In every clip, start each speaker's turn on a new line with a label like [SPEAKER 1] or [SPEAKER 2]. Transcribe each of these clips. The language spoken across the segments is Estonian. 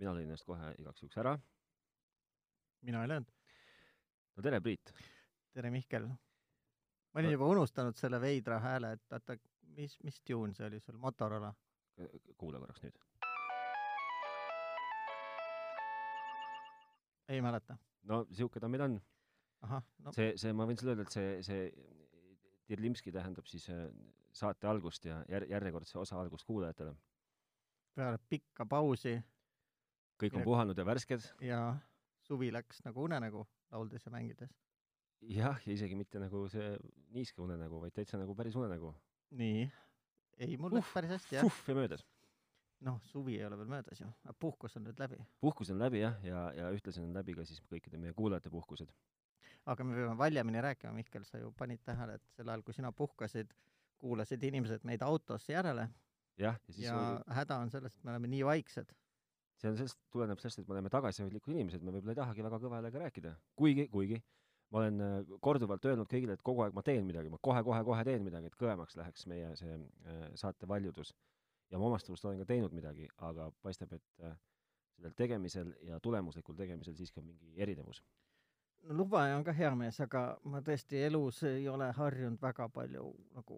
[SPEAKER 1] mina lõin ennast kohe igaks juhuks ära .
[SPEAKER 2] mina ei löönud .
[SPEAKER 1] no tere , Priit .
[SPEAKER 2] tere , Mihkel . ma olin
[SPEAKER 1] Ä-
[SPEAKER 2] juba unustanud selle veidra hääle , et oota , mis , mis tune see oli sul , Motorola ?
[SPEAKER 1] kuula korraks nüüd .
[SPEAKER 2] ei mäleta .
[SPEAKER 1] no sihuke ta meil on .
[SPEAKER 2] ahah , no see...
[SPEAKER 1] see , see , ma võin sulle öelda , et see , see Dirlimski tähendab siis äh, saate algust ja jär- , järjekordse osa algust kuulajatele .
[SPEAKER 2] peale pikka pausi
[SPEAKER 1] kõik on
[SPEAKER 2] Mille-
[SPEAKER 1] puhanud ja värsked .
[SPEAKER 2] ja suvi läks nagu unenägu lauldes ja mängides .
[SPEAKER 1] jah , ja isegi mitte nagu see niiske unenägu , vaid täitsa nagu päris unenägu .
[SPEAKER 2] nii . ei , mul läks päris hästi jah .
[SPEAKER 1] puhv ja möödas .
[SPEAKER 2] noh , suvi ei ole veel möödas ju , puhkus on nüüd läbi .
[SPEAKER 1] puhkus on läbi jah , ja , ja ühtlasi on läbi ka siis kõikide meie kuulajate puhkused .
[SPEAKER 2] aga me peame valjemini rääkima , Mihkel , sa ju panid tähele , et sel ajal , kui sina puhkasid , kuulasid inimesed meid autosse järele
[SPEAKER 1] jah , ja siis
[SPEAKER 2] ja
[SPEAKER 1] ja...
[SPEAKER 2] häda on selles , et me oleme nii vaiksed .
[SPEAKER 1] see on sellest , tuleneb sellest , et me oleme tagasihoidlikud inimesed , me võib-olla ei tahagi väga kõva häälega rääkida , kuigi , kuigi ma olen äh, korduvalt öelnud kõigile , et kogu aeg ma teen midagi , ma kohe-kohe-kohe teen midagi , et kõvemaks läheks meie see äh, saate valjudus . ja ma omast arust olen ka teinud midagi , aga paistab , et äh, sellel tegemisel ja tulemuslikul tegemisel siiski on mingi erinevus .
[SPEAKER 2] no lubaja on ka hea mees , aga ma tõesti elus ei ole harjunud väga palju nagu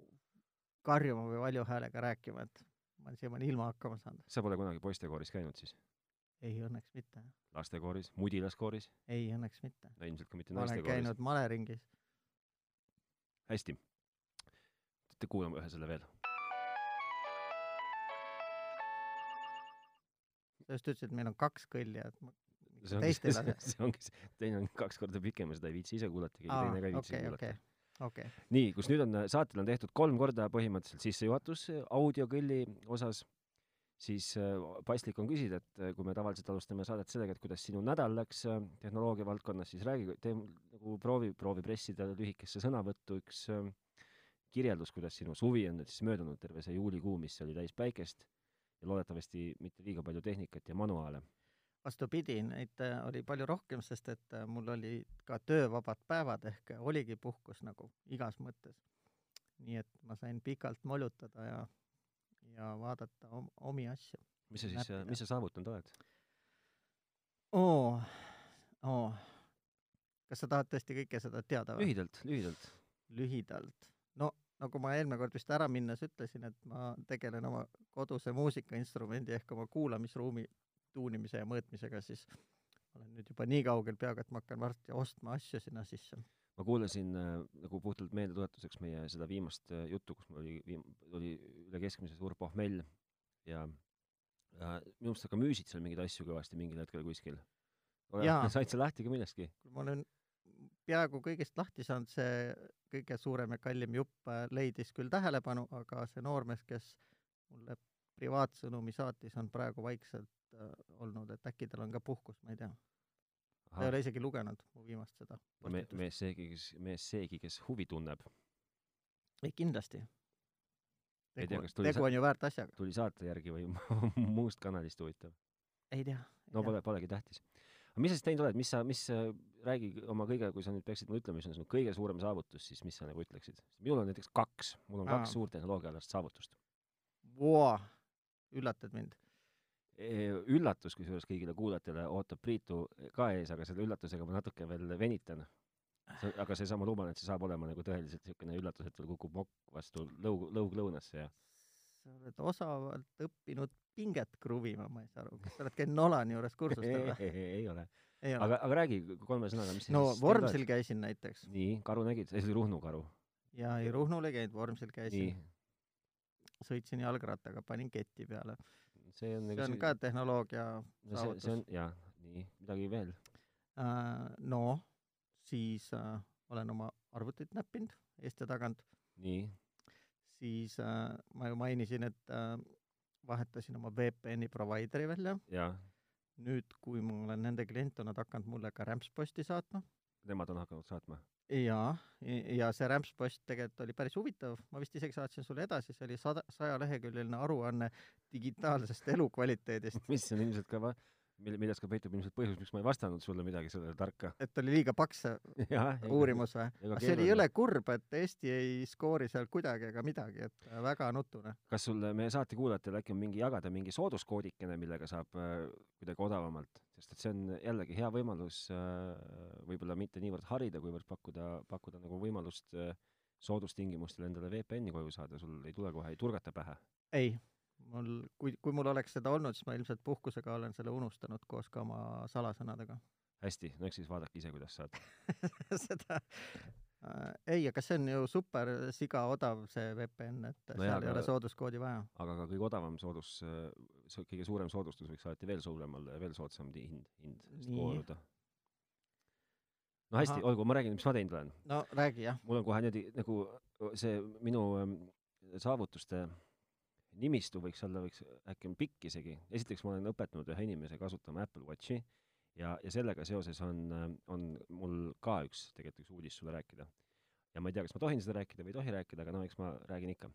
[SPEAKER 2] karjuma või valju häälega rääkima , et ma olen siiamaani ilma hakkama saanud .
[SPEAKER 1] sa pole kunagi poistekooris käinud siis ?
[SPEAKER 2] ei , õnneks mitte .
[SPEAKER 1] lastekooris , mudilaskooris ,
[SPEAKER 2] ei , õnneks mitte .
[SPEAKER 1] no ilmselt ka mitte
[SPEAKER 2] ma olen
[SPEAKER 1] naistekooris .
[SPEAKER 2] käinud maleringis .
[SPEAKER 1] hästi . kuulame ühe selle veel .
[SPEAKER 2] sa just ütlesid , et meil on kaks kõlli , et ma
[SPEAKER 1] see ongi
[SPEAKER 2] teist ei
[SPEAKER 1] see ,
[SPEAKER 2] lase .
[SPEAKER 1] see ongi see , teine on kaks korda pikem ja seda ei viitsi ise kuulata , keegi
[SPEAKER 2] aa
[SPEAKER 1] teine ka ei , viitsi
[SPEAKER 2] okei ,
[SPEAKER 1] kuulata
[SPEAKER 2] okei , okei .
[SPEAKER 1] nii , kus nüüd on , saatel on tehtud kolm korda põhimõtteliselt sissejuhatus eh, audiokõlli osas , siis eh, paslik on küsida , et eh, kui me tavaliselt alustame saadet sellega , et kuidas sinu nädal läks eh, tehnoloogia valdkonnas , siis räägi , tee nagu proovi , proovi pressida lühikesse sõnavõttu üks eh, kirjeldus , kuidas sinu suvi on nüüd siis möödunud , terve see juulikuu , mis oli täis päikest ja loodetavasti mitte liiga palju tehnikat ja manuaale .
[SPEAKER 2] vastupidi , neid äh, oli palju rohkem , sest et äh, mul olid ka töövabad päevad ehk äh, oligi puhkus nagu igas mõttes . nii et ma sain pikalt molutada ja , ja vaadata om- omi asju .
[SPEAKER 1] mis sa siis
[SPEAKER 2] Näppida. ,
[SPEAKER 1] mis sa saavutanud oled ?
[SPEAKER 2] oo , oo . Oh, kas sa tahad tõesti kõike seda teada või ?
[SPEAKER 1] lühidalt , lühidalt .
[SPEAKER 2] lühidalt . no nagu ma eelmine kord vist ära minnes ütlesin , et ma tegelen oma koduse muusikainstrumendi ehk oma kuulamisruumi tuunimise ja mõõtmisega , siis olen nüüd juba nii kaugel peaaegu , et ma hakkan varsti ostma asju sinna sisse .
[SPEAKER 1] ma kuulasin äh, nagu puhtalt meeldetuletuseks meie seda viimast äh, juttu , kus mul oli viim- , oli üle keskmise suur pohmell ja, ja minu arust sa ka müüsid seal mingeid asju kõvasti mingil hetkel kuskil .
[SPEAKER 2] Jaa.
[SPEAKER 1] said sa lahti ka millestki ?
[SPEAKER 2] kui ma olen peaaegu kõigest lahti saanud , see kõige suurem ja kallim jupp äh, leidis küll tähelepanu , aga see noormees , kes mulle privaatsõnumi saatis , on praegu vaikselt äh, olnud , et äkki tal on ka puhkus , ma ei tea . ta ei ole isegi lugenud mu viimast seda
[SPEAKER 1] me- ,
[SPEAKER 2] postitust .
[SPEAKER 1] mees seegi , kes , mees seegi , kes huvi tunneb ,
[SPEAKER 2] ei kindlasti .
[SPEAKER 1] Ei tea,
[SPEAKER 2] tegu
[SPEAKER 1] kas , tuli
[SPEAKER 2] tegu
[SPEAKER 1] sa-
[SPEAKER 2] on ju väärt asjaga .
[SPEAKER 1] tuli saate järgi või muust kanalist huvitav .
[SPEAKER 2] ei tea .
[SPEAKER 1] no pole , polegi tähtis . aga mis sa siis teinud oled , mis sa , mis , räägi oma kõige , kui sa nüüd peaksid mulle ütlema , mis on sinu kõige suurem saavutus , siis mis sa nagu ütleksid ? minul on näiteks kaks , mul on
[SPEAKER 2] Aa.
[SPEAKER 1] kaks suurt tehnoloogiaalast saavutust .
[SPEAKER 2] Wow. üllatad mind .
[SPEAKER 1] E, üllatus kusjuures kõigile kuulajatele ootab Priitu ka ees , aga selle üllatusega ma natuke veel venitan . aga seesama luban , et see saab olema nagu tõeliselt niisugune üllatus , et tal kukub mokk vastu lõug , lõug lõunasse ja
[SPEAKER 2] sa oled osavalt õppinud pinget kruvima , ma ei saa aru , kas sa oled käinud Nolani juures kursustel või ?
[SPEAKER 1] ei, ei ole .
[SPEAKER 2] ei ole .
[SPEAKER 1] aga , aga räägi kolme sõnaga , mis sa
[SPEAKER 2] no
[SPEAKER 1] siis teinud
[SPEAKER 2] Vormsil käisin näiteks
[SPEAKER 1] oled? nii , karu nägid , see oli Ruhnu karu .
[SPEAKER 2] ja ei Ruhnul ei käinud , Vormsil
[SPEAKER 1] nii
[SPEAKER 2] käisin ,, sõitsin jalgrattaga , panin keti peale .
[SPEAKER 1] see on nagu
[SPEAKER 2] see on ka tehnoloogia ,
[SPEAKER 1] no see , see on
[SPEAKER 2] saavutus.
[SPEAKER 1] jaa , nii , midagi veel .
[SPEAKER 2] äh, no siis äh, olen oma arvutit näppinud eest ja tagant .
[SPEAKER 1] nii ,
[SPEAKER 2] siis äh, ma ju mainisin , et äh, vahetasin oma VPN-i provaideri välja .
[SPEAKER 1] jaa ,
[SPEAKER 2] nüüd , kui ma olen nende klient , on nad hakanud mulle ka rämpsposti saatma .
[SPEAKER 1] nemad on hakanud saatma .
[SPEAKER 2] jaa , ja see rämpspost tegelikult oli päris huvitav , ma vist isegi saatsin sulle edasi , see oli sada , sajaleheküljeline aruanne digitaalsest elukvaliteedist .
[SPEAKER 1] mis on ilmselt ka va- mille , milles ka peitub ilmselt põhjus , miks ma ei vastanud sulle midagi sellele tarka .
[SPEAKER 2] et oli liiga paks see
[SPEAKER 1] jah ,
[SPEAKER 2] uurimus või ?
[SPEAKER 1] ega
[SPEAKER 2] see oli
[SPEAKER 1] keeruline.
[SPEAKER 2] jõle kurb , et Eesti ei skoori seal kuidagi ega midagi , et äh, väga nutune .
[SPEAKER 1] kas sul meie saate kuulajatele äkki on mingi jagada mingi sooduskoodikene , millega saab äh, kuidagi odavamalt , sest et see on jällegi hea võimalus äh, võib-olla mitte niivõrd harida , kuivõrd pakkuda , pakkuda nagu võimalust äh, soodustingimustel endale VPN-i koju saada , sul ei tule kohe , ei turgata pähe .
[SPEAKER 2] ei , mul , kui , kui mul oleks seda olnud , siis ma ilmselt puhkusega olen selle unustanud koos ka oma salasõnadega .
[SPEAKER 1] hästi , no eks siis vaadake ise , kuidas saate .
[SPEAKER 2] seda äh, ei , aga see on ju super siga odav , see VPN , et
[SPEAKER 1] No
[SPEAKER 2] no
[SPEAKER 1] jaa,
[SPEAKER 2] seal
[SPEAKER 1] aga-
[SPEAKER 2] ei ole sooduskoodi vaja .
[SPEAKER 1] aga ka kõige odavam soodus , see kõige suurem soodustus võiks alati veel suurem olla ja veel soodsam ti- hind , hind sest
[SPEAKER 2] Nii.
[SPEAKER 1] kooruda . no hästi ,
[SPEAKER 2] Ahah.
[SPEAKER 1] olgu , ma räägin , mis ma teinud olen .
[SPEAKER 2] no räägi jah ,
[SPEAKER 1] mul on kohe niimoodi nagu see minu ähm, saavutuste nimistu võiks olla , võiks äkki on pikk isegi . esiteks ma olen õpetanud ühe inimese kasutama Apple Watchi ja , ja sellega seoses on , on mul ka üks tegelikult üks uudis sulle rääkida . ja ma ei tea , kas ma tohin seda rääkida või ei tohi rääkida , aga no eks ma räägin ikka .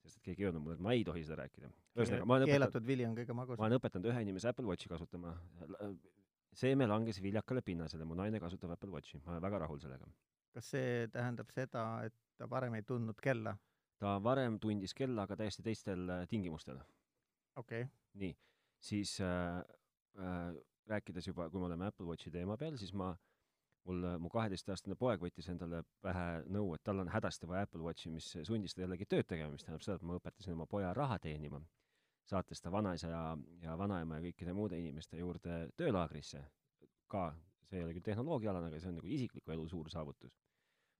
[SPEAKER 1] sest et keegi ei öelnud mulle , et ma ei tohi seda rääkida . ühesõnaga , ma olen õpetanud
[SPEAKER 2] keelatud vili on kõige
[SPEAKER 1] ma
[SPEAKER 2] magusam .
[SPEAKER 1] olen õpetanud ühe inimese Apple Watchi kasutama . seeme langes viljakale pinnasele , mu naine kasutab Apple Watchi , ma olen väga rahul sellega .
[SPEAKER 2] kas see tähendab seda , et ta varem ei tundnud kella ?
[SPEAKER 1] ta varem tundis kella , aga täiesti teistel äh, tingimustel .
[SPEAKER 2] okei okay. ,
[SPEAKER 1] siis äh, äh, rääkides juba , kui me oleme Apple Watchi teema peal , siis ma , mul , mu kaheteistaastane poeg võttis endale pähe nõu , et tal on hädasti vaja Apple Watchi , mis sundis ta jällegi tööd tegema , mis tähendab seda , et ma õpetasin oma poja raha teenima , saates ta vanaisa ja , ja vanaema ja kõikide muude inimeste juurde töölaagrisse ka , see ei ole küll tehnoloogiaalane , aga see on nagu isikliku elu suur saavutus .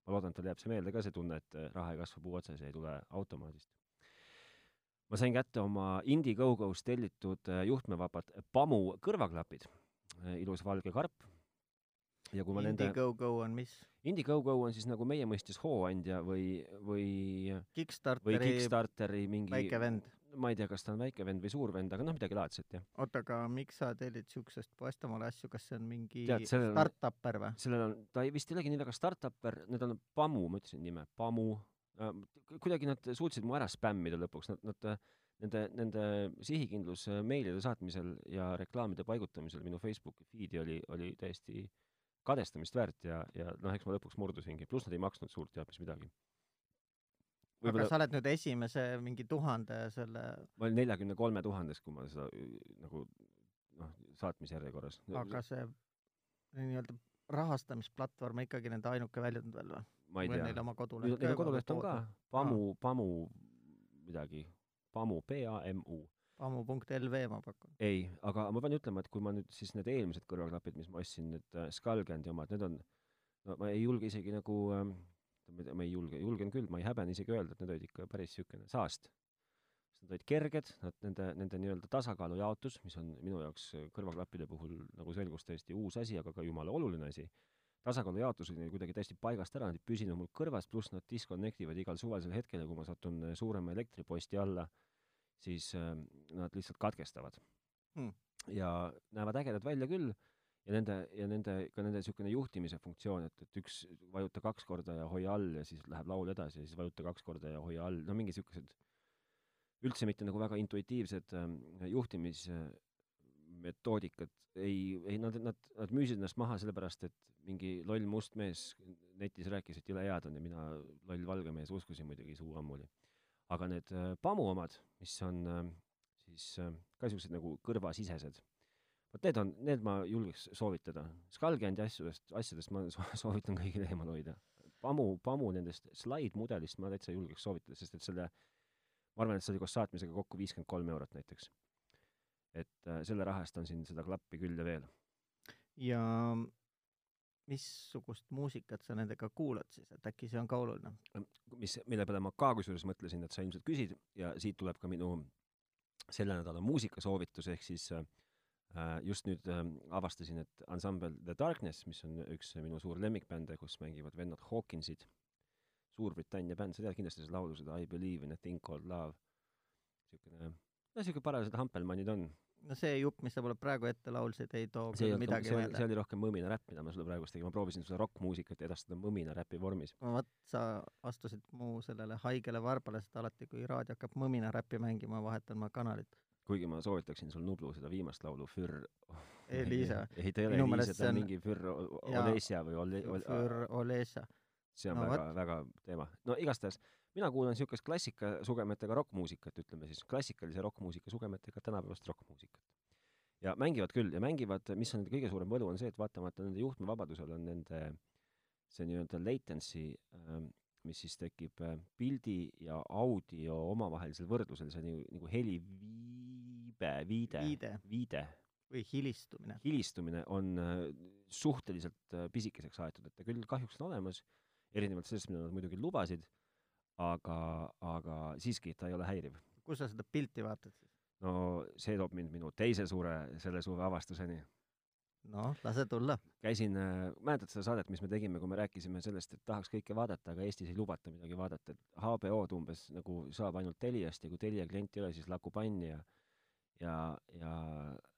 [SPEAKER 1] ma loodan , et tal jääb see meelde ka , see tunne , et äh, raha ei kasva puu otsas ja ei tule automaadist . ma sain kätte oma Indiegogo's tellitud äh, juhtmevabad Pamu kõrvaklapid , ilus valge karp . ja kui ma nende
[SPEAKER 2] Indiegogo on mis ?
[SPEAKER 1] Indiegogo on siis nagu meie mõistes hooandja või , või , või
[SPEAKER 2] Kickstarteri
[SPEAKER 1] Kickstarteri mingi
[SPEAKER 2] väike , vend .
[SPEAKER 1] ma ei tea , kas ta on väike vend või suur vend , aga noh , midagi laadset jah .
[SPEAKER 2] oota , aga miks sa tellid siuksest poest omale asju , kas see on mingi
[SPEAKER 1] Tead, sellel on-
[SPEAKER 2] startupper või ?
[SPEAKER 1] sellel on , ta ei vist ei olegi nii väga startup'er , need on Pamu , ma ütlesin nime , Pamu . kuidagi nad suutsid mu ära spämmida lõpuks , nad , nad , nende , nende sihikindlus äh, meilide saatmisel ja reklaamide paigutamisel minu Facebooki feed'i oli , oli täiesti kadestamist väärt ja , ja noh , eks ma lõpuks murdusingi , pluss nad ei maksnud suurt teab mis midagi .
[SPEAKER 2] aga sa oled nüüd esimese mingi tuhande selle ,
[SPEAKER 1] ma olin neljakümne kolme tuhandes , kui ma seda ü- nagu noh , saatmisjärjekorras .
[SPEAKER 2] aga see nii-öelda rahastamisplatvorm on ikkagi nende ainuke väljund veel või ?
[SPEAKER 1] ma ei
[SPEAKER 2] või
[SPEAKER 1] tea
[SPEAKER 2] neil . oma koduleht
[SPEAKER 1] Neil neil on koduleht on ka . Pamu , Pamu midagi , Pamu , P-A-M-U .
[SPEAKER 2] pamu.lv ma pakun .
[SPEAKER 1] ei , aga ma pean ütlema , et kui ma nüüd siis need eelmised kõrvaklapid , mis ma ostsin , need äh, Skalgendi omad , need on , no ma ei julge isegi nagu ähm, , ma ei tea- ma ei julge , julgen küll , ma ei häbene isegi öelda , et need olid ikka päris niisugune saast . Nad olid kerged , nad , nende , nende nii-öelda tasakaalu jaotus , mis on minu jaoks äh, kõrvaklappide puhul nagu selgus täiesti uus asi , aga ka jumala oluline asi , tasakaalu jaotus oli neil kuidagi täiesti paigast ära , nad ei püsinud mul kõrvas , pluss nad disconnect ivad igal suvalisel hetkel ja kui ma satun äh, suurema elektriposti alla , siis äh, nad lihtsalt katkestavad
[SPEAKER 2] Hmm.
[SPEAKER 1] ja näevad ägedad välja küll ja nende ja nende ka nende niisugune juhtimise funktsioon , et , et üks vajuta kaks korda ja hoia all ja siis läheb laul edasi ja siis vajuta kaks korda ja hoia all , no mingi niisugused üldse mitte nagu väga intuitiivsed ähm, juhtimismetoodikad ei , ei nad , nad , nad müüsid ennast maha sellepärast , et mingi loll must mees netis rääkis , et jõle head on ja mina , loll valge mees , uskusin muidugi suu ammuli . aga need äh, Pamu omad , mis on äh, siis äh, ka siuksed nagu kõrvasisesed , vot need on , need ma julgeks soovitada . Skalgendi asjadest , asjadest ma so- soovitan kõigil eemal hoida . Pamu , Pamu nendest slaidmudelist ma täitsa julgeks soovitada , sest et selle , ma arvan , et see oli koos saatmisega kokku viiskümmend kolm eurot näiteks . et äh, selle raha eest on siin seda klappi küll ja veel .
[SPEAKER 2] ja mm, missugust muusikat sa nendega kuulad siis , et äkki see on ka oluline ?
[SPEAKER 1] mis , mille peale ma ka kusjuures mõtlesin , et sa ilmselt küsid ja siit tuleb ka minu selle nädala muusikasoovitus , ehk siis äh, äh, just nüüd äh, avastasin , et ansambel The Darkness , mis on üks minu suur lemmikbände , kus mängivad vennad Hawkinsid , Suurbritannia bänd , sa tead kindlasti seda laulu , seda I believe in a thing called love , niisugune , no niisugune parasjagu hampelmannid on .
[SPEAKER 2] no see jupp , mis sa mulle praegu ette laulsid , ei too
[SPEAKER 1] see ei
[SPEAKER 2] küll
[SPEAKER 1] olnud ,
[SPEAKER 2] midagi
[SPEAKER 1] see, see
[SPEAKER 2] meelde .
[SPEAKER 1] oli rohkem mõmina räpp , mida ma sulle praegu tegin , ma proovisin sulle rokkmuusikat edastada mõmina räpi vormis .
[SPEAKER 2] vot sa astusid mu sellele haigele varbale , sest alati , kui raadio hakkab mõmina räppi mängima , vahetan ma kanalit .
[SPEAKER 1] kuigi ma soovitaksin sul Nublu seda viimast laulu Fürr
[SPEAKER 2] Elisa.
[SPEAKER 1] ei ta ei ole
[SPEAKER 2] Minu
[SPEAKER 1] Elisa
[SPEAKER 2] meelest
[SPEAKER 1] ta
[SPEAKER 2] see
[SPEAKER 1] on
[SPEAKER 2] on-
[SPEAKER 1] mingi Fürr O-
[SPEAKER 2] jaa.
[SPEAKER 1] Olesja või Ole- Ole-
[SPEAKER 2] Für Olesa .
[SPEAKER 1] see on
[SPEAKER 2] no
[SPEAKER 1] väga
[SPEAKER 2] vot.
[SPEAKER 1] väga teema no igastahes mina kuulan siukest klassika sugemetega rokkmuusikat ütleme siis klassikalise rokkmuusika sugemetega tänapäevast rokkmuusikat ja mängivad küll ja mängivad mis on nende kõige suurem võlu on see et vaatamata nende juhtmevabadusele on nende see niiöelda latency ähm, mis siis tekib äh, pildi ja audio omavahelisel võrdlusel see nii nagu heliviibe viide
[SPEAKER 2] viide
[SPEAKER 1] viide
[SPEAKER 2] või hilistumine .
[SPEAKER 1] hilistumine on äh, suhteliselt äh, pisikeseks aetud , et ta küll kahjuks on olemas , erinevalt sellest , mida nad muidugi lubasid , aga , aga siiski ta ei ole häiriv .
[SPEAKER 2] kus sa seda pilti vaatad siis ?
[SPEAKER 1] no see toob mind minu teise suure selle suve avastuseni .
[SPEAKER 2] noh , lase tulla .
[SPEAKER 1] käisin äh, , mäletad seda saadet , mis me tegime , kui me rääkisime sellest , et tahaks kõike vaadata , aga Eestis ei lubata midagi vaadata , et HBO-d umbes nagu saab ainult Teliast ja kui Telia klient ei ole , siis lakub anni ja ja , ja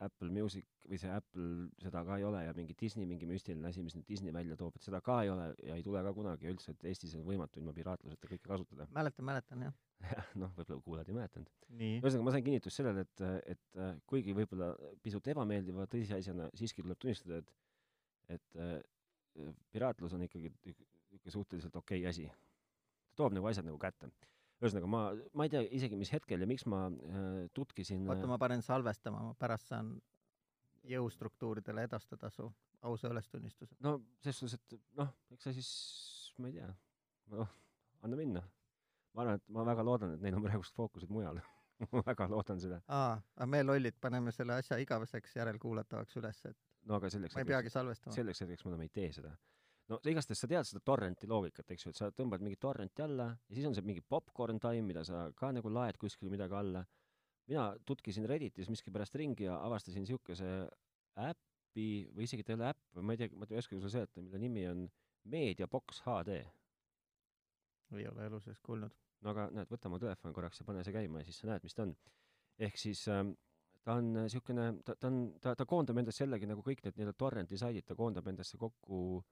[SPEAKER 1] Apple Music või see Apple , seda ka ei ole ja mingi Disney , mingi müstiline asi , mis nüüd Disney välja toob , et seda ka ei ole ja ei tule ka kunagi ja üldse , et Eestis on võimatu ilma piraatluseta kõike kasutada .
[SPEAKER 2] mäletan , mäletan jah .
[SPEAKER 1] noh , võib-olla kuulajad ei mäletanud .
[SPEAKER 2] nii .
[SPEAKER 1] ühesõnaga , ma sain kinnitust sellele , et , et äh, kuigi võib-olla pisut ebameeldiva tõsiasjana siiski tuleb tunnistada , et , et äh, piraatlus on ikkagi niisugune suhteliselt okei asi . ta toob nagu asjad nagu kätte . ühesõnaga , ma , ma ei tea isegi , mis hetkel ja miks ma äh, tutkisin
[SPEAKER 2] oota , ma panen salvestama , ma pärast saan jõustruktuuridele edastada su ausa ülestunnistuse .
[SPEAKER 1] no selles suhtes , et noh , eks sa siis , ma ei tea , noh , anna minna . ma arvan , et ma väga loodan , et neil on praegust fookused mujal . ma väga loodan seda .
[SPEAKER 2] aa , aga me lollid paneme selle asja igaveseks järelkuulatavaks üles , et
[SPEAKER 1] no aga selleks
[SPEAKER 2] ma ei peagi salvestama .
[SPEAKER 1] selleks hetkeks me enam ei tee seda . no sa igastahes sa tead seda torrenti loogikat , eks ju , et sa tõmbad mingi torrenti alla ja siis on see mingi popcorn time , mida sa ka nagu laed kuskile midagi alla . mina tutkisin Redditis miskipärast ringi ja avastasin niisuguse äppi või isegi ta ei ole äpp , ma ei tea , ma ei oska sulle seletada , mille nimi on Meediabox HD .
[SPEAKER 2] ei ole elu sees kuulnud .
[SPEAKER 1] no aga näed , võta mu telefon korraks ja pane see käima ja siis sa näed , mis ta on . ehk siis ähm, ta on niisugune , ta , ta on , ta , ta koondab endasse jällegi nagu kõik need nii-öelda torrenti saidid , ta koondab endasse kokku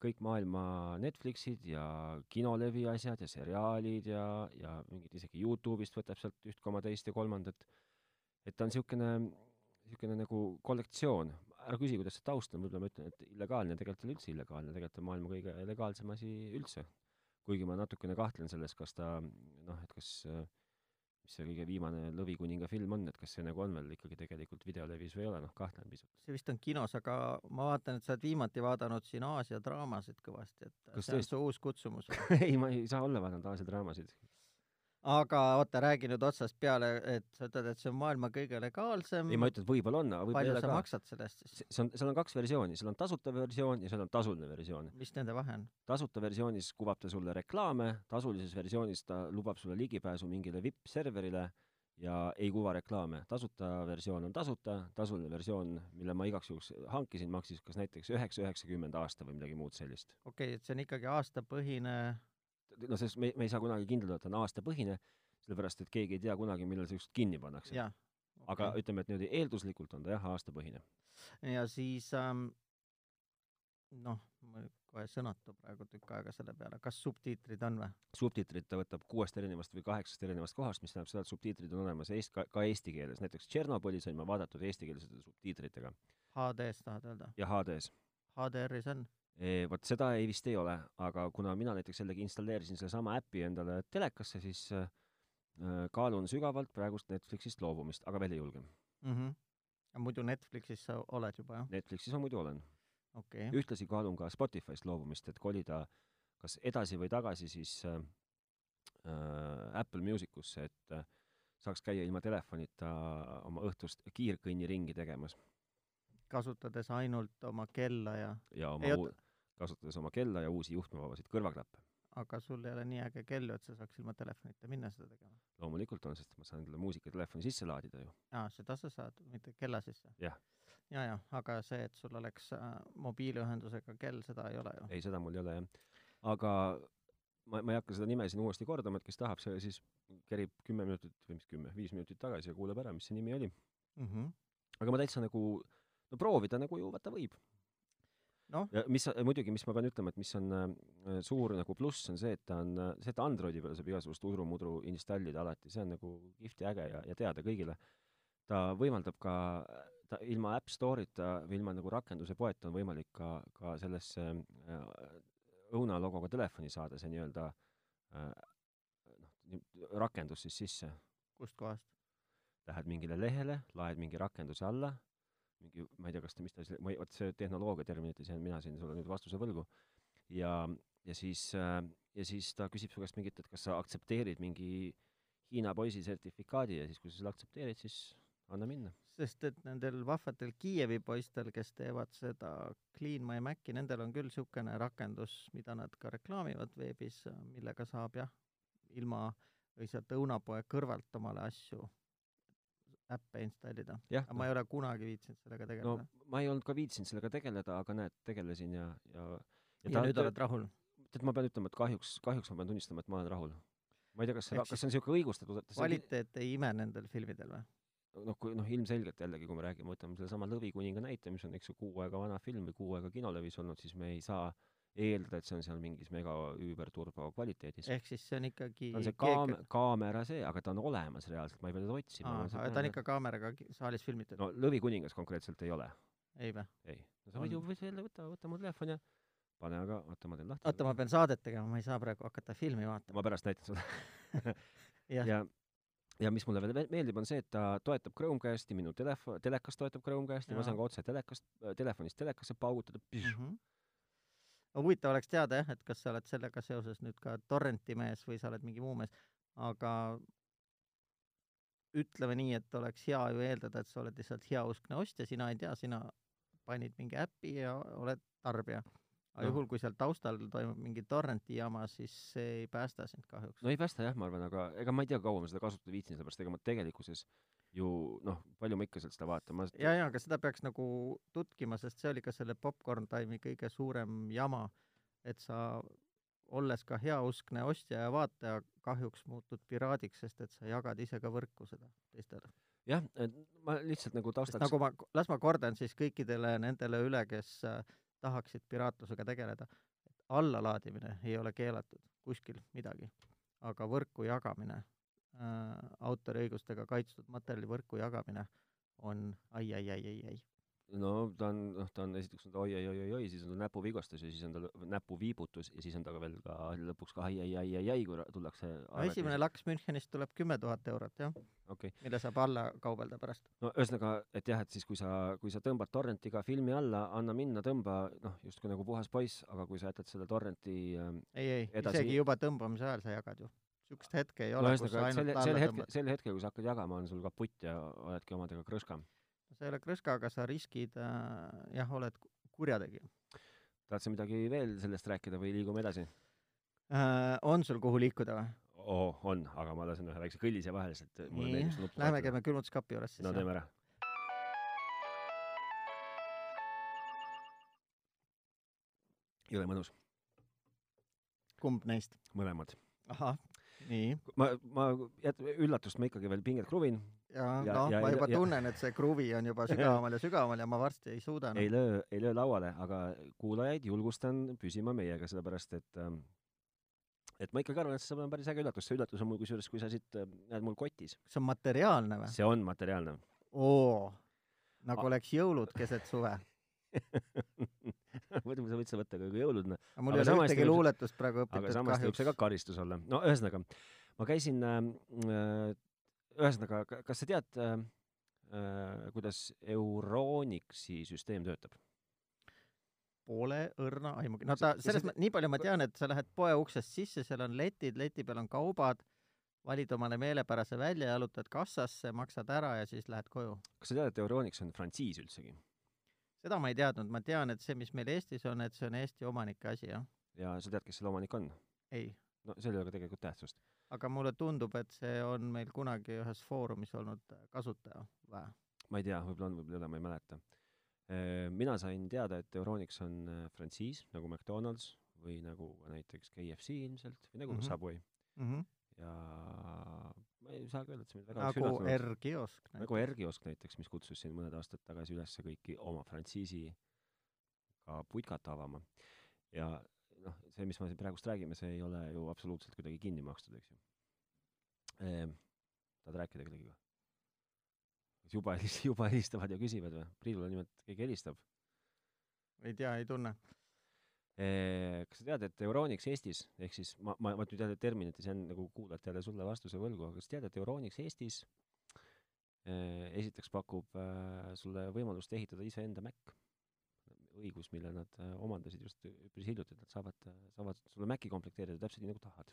[SPEAKER 1] kõik maailma Netflixid ja kinolevi asjad ja seriaalid ja , ja mingid isegi Youtube'ist võtab sealt üht koma teist ja kolmandat . et ta on niisugune , niisugune nagu kollektsioon . ära küsi , kuidas see taust on , võib-olla ma ütlen , et illegaalne , tegelikult ei ole üldse illegaalne , tegelikult on maailma kõige legaalsem asi üldse . kuigi ma natukene kahtlen selles , kas ta noh , et kas äh, mis see kõige viimane Lõvikuninga film on , et kas see nagu on veel ikkagi tegelikult videolevis või ei ole , noh kahtlen pisut .
[SPEAKER 2] see vist on kinos , aga ma vaatan , et sa oled viimati vaadanud siin Aasia draamasid kõvasti , et
[SPEAKER 1] Kas
[SPEAKER 2] see on
[SPEAKER 1] tõesti?
[SPEAKER 2] su uus kutsumus .
[SPEAKER 1] ei , ma ei saa olla vaadanud Aasia draamasid .
[SPEAKER 2] aga oota , räägi nüüd otsast peale , et sa ütled , et see on maailma kõige legaalsem .
[SPEAKER 1] ei , ma ütlen , et võib-olla on , aga võib-olla
[SPEAKER 2] Mm. palju
[SPEAKER 1] ei
[SPEAKER 2] sa
[SPEAKER 1] ole ka .
[SPEAKER 2] maksad selle eest siis ?
[SPEAKER 1] see see on , seal on kaks versiooni , seal on tasuta versioon ja seal on tasuline versioon .
[SPEAKER 2] mis nende vahe on ?
[SPEAKER 1] tasuta versioonis kuvab ta sulle reklaame , tasulises versioonis ta lubab sulle ligipääsu mingile vipp-serverile ja ei kuva reklaame . tasuta versioon on tasuta , tasuline versioon , mille ma igaks juhuks hankisin , maksis kas näiteks üheksa üheksakümmend aasta või midagi muud sellist .
[SPEAKER 2] okei okay, , et see on ikkagi aastapõhine ,
[SPEAKER 1] no sest me , me ei saa kunagi kindlad olla , et ta on aastapõhine , sellepärast et keegi ei tea kunagi , millal see ükskord kinni pannakse .
[SPEAKER 2] jah .
[SPEAKER 1] aga okay. ütleme , et niimoodi eelduslikult on ta jah , aastapõhine .
[SPEAKER 2] ja siis ähm, noh , ma kohe sõnatu praegu tükk aega selle peale , kas subtiitrid on või ?
[SPEAKER 1] subtiitrid ta võtab kuuest erinevast või kaheksast erinevast kohast , mis tähendab seda , et subtiitrid on olemas eest- , ka, ka eesti keeles , näiteks Tšernobõlis on ma vaadatud eestikeelsete subtiitritega
[SPEAKER 2] HD-s tahad öelda ?
[SPEAKER 1] ja HD-s .
[SPEAKER 2] HDR-is on ?
[SPEAKER 1] Eh, vot seda ei vist ei ole , aga kuna mina näiteks jällegi installeerisin sellesama äpi endale telekasse , siis äh, kaalun sügavalt praegust Netflixist loobumist , aga veel ei julge .
[SPEAKER 2] mhmh . aga muidu Netflixis sa oled juba jah ?
[SPEAKER 1] Netflixis ma muidu olen .
[SPEAKER 2] okei okay. ,
[SPEAKER 1] ühtlasi kaalun ka Spotify'st loobumist , et kolida kas edasi või tagasi siis äh, äh, Apple Music usse , et äh, saaks käia ilma telefonita oma õhtust kiirkõnniringi tegemas
[SPEAKER 2] kasutades ainult oma kella ja ,
[SPEAKER 1] ja oma
[SPEAKER 2] Ei,
[SPEAKER 1] uu-
[SPEAKER 2] oota. ,
[SPEAKER 1] kasutades oma kella ja uusi juhtmevabasid kõrvaklappe .
[SPEAKER 2] aga sul ei ole nii äge kell ju , et sa saaks ilma telefonita minna seda tegema .
[SPEAKER 1] loomulikult on , sest ma saan endale muusika telefoni sisse laadida ju .
[SPEAKER 2] aa , seda sa saad , mitte kella sisse ?
[SPEAKER 1] Jah.
[SPEAKER 2] ja , ja , aga see , et sul oleks äh, mobiiliühendusega kell , seda ei ole ju .
[SPEAKER 1] ei , seda mul ei ole jah . aga ma , ma ei hakka seda nime siin uuesti kordama , et kes tahab , see siis kerib kümme minutit või mis kümme , viis minutit tagasi ja kuulab ära , mis see nimi oli .
[SPEAKER 2] Mm -hmm.
[SPEAKER 1] aga ma täitsa nagu , no proovida nagu ju vaata võib .
[SPEAKER 2] Noh.
[SPEAKER 1] ja mis sa- muidugi , mis ma pean ütlema , et mis on äh, suur nagu pluss , on see , et ta on , see , et Androidi peale saab igasugust udrumudru installida alati , see on nagu kihvt ja äge ja , ja teada kõigile . ta võimaldab ka ta ilma App Store'ita või ilma nagu rakenduse poeta on võimalik ka, ka sellesse äh, õunalogoga telefoni saada see nii-öelda äh, noh, nii- rakendus siis sisse.
[SPEAKER 2] kustkohast ?
[SPEAKER 1] Lähed mingile lehele, laed mingi rakenduse alla, mingi , ma ei tea , kas ta , mis ta siis , ma ei , vot see tehnoloogia terminit ei saanud , mina siin sulle nüüd vastuse võlgu . ja , ja siis äh, , ja siis ta küsib su käest mingit , et kas sa aktsepteerid mingi Hiina poisi sertifikaadi ja siis , kui sa selle aktsepteerid , siis anna minna .
[SPEAKER 2] sest et nendel vahvatel Kiievi poistel , kes teevad seda Clean My Maci , nendel on küll niisugune rakendus , mida nad ka reklaamivad veebis , millega saab jah , ilma või sealt õunapoe kõrvalt omale asju , äppe installida .
[SPEAKER 1] jah
[SPEAKER 2] aga , ma ei ole kunagi viitsinud sellega
[SPEAKER 1] no
[SPEAKER 2] tegeleda no, .
[SPEAKER 1] ma ei olnud ka viitsinud sellega tegeleda , aga näed , tegelesin ja , ja
[SPEAKER 2] ja, ja nüüd oled rahul ?
[SPEAKER 1] tead , ma pean ütlema , et kahjuks , kahjuks ma pean tunnistama , et ma olen rahul . ma ei tea , kas see
[SPEAKER 2] Ehk ,
[SPEAKER 1] kas see on niisugune õigustatud , et see
[SPEAKER 2] kvaliteet ei ime nendel filmidel või ?
[SPEAKER 1] on noh , kui noh , ilmselgelt jällegi , kui me räägime , võtame sellesama Lõvikuninga näite , mis on eks ju kuu aega vana film või kuu aega kinolevis olnud , siis me ei saa eeldada , et see on seal mingis mega üüberturbo kvaliteedis .
[SPEAKER 2] ehk siis see on ikkagi
[SPEAKER 1] ta on see kaam- , kaamera see , aga ta on olemas reaalselt , ma ei pea teda otsima .
[SPEAKER 2] aga ta on ikka kaameraga ki- saalis filmitud no. ,
[SPEAKER 1] no Lõvikuningas konkreetselt ei ole ,
[SPEAKER 2] ei või ?
[SPEAKER 1] ei . no sa võid ju
[SPEAKER 2] On.
[SPEAKER 1] võid jälle võtta , võta mu telefon ja pane aga , oota , ma teen lahti .
[SPEAKER 2] oota , ma pean saadet tegema , ma ei saa praegu hakata filmi vaatama .
[SPEAKER 1] ma pärast näitan sulle .
[SPEAKER 2] Jah.
[SPEAKER 1] ja , ja mis mulle veel me- meeldib , on see , et ta toetab Chromecasti , minu telefon , telekas toetab Chromecasti , ma
[SPEAKER 2] Jaa.
[SPEAKER 1] saan ka otse telekast , telefonist telekasse paugutada .
[SPEAKER 2] -hmm. huvitav oleks teada jah , et kas sa oled sellega seoses nüüd ka torrenti mees või sa oled mingi muu mees , aga ütleme nii , et oleks hea ju eeldada , et sa oled lihtsalt heauskne ostja , sina ei tea , sina panid mingi äpi ja oled tarbija . aga
[SPEAKER 1] Noh.
[SPEAKER 2] juhul , kui seal taustal toimub mingi torrenti jama , siis see ei päästa sind kahjuks
[SPEAKER 1] no . ei päästa jah , ma arvan , aga ega ma ei tea , kaua ma seda kasutada viitsin , sellepärast ega ma tegelikkuses ju noh , palju ma ikka sealt seda vaatan , ma
[SPEAKER 2] ja , ja aga seda peaks nagu tutkima , sest see oli ka selle popcorn time'i kõige suurem jama , et sa olles ka heauskne ostja ja vaataja , kahjuks muutud piraadiks , sest et sa jagad ise ka võrku seda teistele .
[SPEAKER 1] jah , ma lihtsalt nagu
[SPEAKER 2] sest
[SPEAKER 1] taustaks
[SPEAKER 2] nagu ma , las ma kordan siis kõikidele nendele üle , kes äh, tahaksid piraatlusega tegeleda , et allalaadimine ei ole keelatud kuskil midagi , aga võrku jagamine äh, , autoriõigustega kaitstud materjali võrku jagamine on ai-ai-ai-ai-ai .
[SPEAKER 1] no ta on , noh , ta on esiteks on ta oi-oi-oi-oi , siis on ta näpuvigastus ja siis on tal näpuviibutus ja siis on ta ka veel ka lõpuks ka ai-ai-ai-ai-ai , kui ra- tullakse .
[SPEAKER 2] no esimene laks Münchenist tuleb kümme tuhat eurot jah ,
[SPEAKER 1] okei ,
[SPEAKER 2] mille saab alla kaubelda pärast .
[SPEAKER 1] no ühesõnaga , et jah , et siis kui sa , kui sa tõmbad torrentiga filmi alla , anna minna , tõmba , noh , justkui nagu puhas poiss , aga kui sa jätad selle torrenti ähm,
[SPEAKER 2] ei , ei ,
[SPEAKER 1] Edasi-
[SPEAKER 2] isegi juba tõmbamise ajal sa jagad ju . niisugust hetke ei
[SPEAKER 1] no
[SPEAKER 2] ole no, , kus
[SPEAKER 1] ühesõnaga ,
[SPEAKER 2] sa
[SPEAKER 1] et sel ,
[SPEAKER 2] ainult alla
[SPEAKER 1] sel
[SPEAKER 2] hetke...
[SPEAKER 1] hetkel ,
[SPEAKER 2] tõmbad .
[SPEAKER 1] sel hetkel , kui sa hakkad jagama , on sul kaputt ja oledki omadega krõskam .
[SPEAKER 2] sa ei ole krõska , aga sa riskid äh, , jah , oled ku- kurjategija
[SPEAKER 1] tahad sa midagi veel sellest rääkida või liigume edasi ?
[SPEAKER 2] äh, . on sul kuhu liikuda või ?
[SPEAKER 1] oo , on , aga ma lasen ühe väikse kõllise vahele , sest mulle
[SPEAKER 2] Nii,
[SPEAKER 1] meeldib seda nuppu
[SPEAKER 2] Lähme
[SPEAKER 1] vajutada.
[SPEAKER 2] käime külmutuskapi juures siis
[SPEAKER 1] no
[SPEAKER 2] jah.
[SPEAKER 1] teeme ära . jõle mõnus ,
[SPEAKER 2] kumb neist ?
[SPEAKER 1] mõlemad .
[SPEAKER 2] ahah , nii .
[SPEAKER 1] ma , ma jät- , üllatust ma ikkagi veel pinget kruvin ,
[SPEAKER 2] ja
[SPEAKER 1] Ja-
[SPEAKER 2] noh ,
[SPEAKER 1] ja-
[SPEAKER 2] ma
[SPEAKER 1] ja-
[SPEAKER 2] juba
[SPEAKER 1] ja-
[SPEAKER 2] tunnen , et see kruvi on juba sügavamal ja sügavamal ja ma varsti ei suuda noh.
[SPEAKER 1] ei
[SPEAKER 2] enam .
[SPEAKER 1] löö , ei löö lauale , aga kuulajaid julgustan püsima meiega , sellepärast et ähm, et ma ikkagi arvan , et see on päris äge üllatus , see üllatus on mul kusjuures , kui sa siit ähm, näed mul kotis ,
[SPEAKER 2] kas see on materiaalne või ?
[SPEAKER 1] see on materiaalne .
[SPEAKER 2] oo , nagu
[SPEAKER 1] A-
[SPEAKER 2] oleks jõulud keset suve
[SPEAKER 1] muidu sa võid seda võtta ka kui jõuludena ,
[SPEAKER 2] aga mul
[SPEAKER 1] Aga
[SPEAKER 2] ei ole
[SPEAKER 1] samas ta
[SPEAKER 2] ühtegi
[SPEAKER 1] võib-
[SPEAKER 2] luuletust praegu
[SPEAKER 1] aga
[SPEAKER 2] õpitud
[SPEAKER 1] samas võib see ka
[SPEAKER 2] kahjuks .
[SPEAKER 1] karistus olla . no ühesõnaga , ma käisin ähm, äh, , ühesõnaga , kas sa tead äh, , äh, kuidas Euronixi süsteem töötab ?
[SPEAKER 2] Pole õrna aimugi , no
[SPEAKER 1] See-
[SPEAKER 2] ta
[SPEAKER 1] ja ,
[SPEAKER 2] selles
[SPEAKER 1] see-
[SPEAKER 2] mõttes , nii palju ma tean , et sa lähed poe uksest sisse , seal on letid , leti peal on kaubad , valid omale meelepärase välja , jalutad kassasse , maksad ära ja siis lähed koju .
[SPEAKER 1] kas sa tead , et Euronix on frantsiis üldsegi ?
[SPEAKER 2] seda ma ei teadnud , ma tean , et see , mis meil Eestis on , et see on Eesti omanike asi , jah .
[SPEAKER 1] ja sa tead , kes selle omanik on ?
[SPEAKER 2] ei ,
[SPEAKER 1] no seal ei ole ka tegelikult tähtsust .
[SPEAKER 2] aga mulle tundub , et see on meil kunagi ühes foorumis olnud kasutaja vä ?
[SPEAKER 1] ma ei tea , võib-olla on , võib-olla ei ole , ma ei mäleta . mina sain teada , et Euronix on äh, frantsiis nagu McDonalds või nagu ka näiteks KFC ilmselt või nagu mm -hmm.
[SPEAKER 2] Mhm.
[SPEAKER 1] Subway ja ma ei saagi öelda , et see mind väga
[SPEAKER 2] nagu . R-kiosk .
[SPEAKER 1] nagu Ergi Osk näiteks , mis kutsus siin mõned aastad tagasi üles kõiki oma frantsiisi ka putkat avama . ja noh , see , mis me siin praegust räägime , see ei ole ju absoluutselt kuidagi Ehm, kinni makstud , eks ju . tahad rääkida kellegagi ? kas juba helis- , juba helistavad ja küsivad või ? Priidule nimelt keegi helistab .
[SPEAKER 2] ei tea , ei tunne .
[SPEAKER 1] Eh, kas sa tead , et Euronics Eestis , ehk siis ma , ma , ma nüüd jälle terminites jään nagu kuulajate jälle sulle vastuse võlgu , aga kas sa tead , et Euronics Eestis eh, esiteks pakub eh, sulle võimalust ehitada iseenda Mac ? õigus , mille nad eh, omandasid just üpris hiljuti , et nad saavad , saavad sulle Maci komplekteerida täpselt nii , nagu tahad .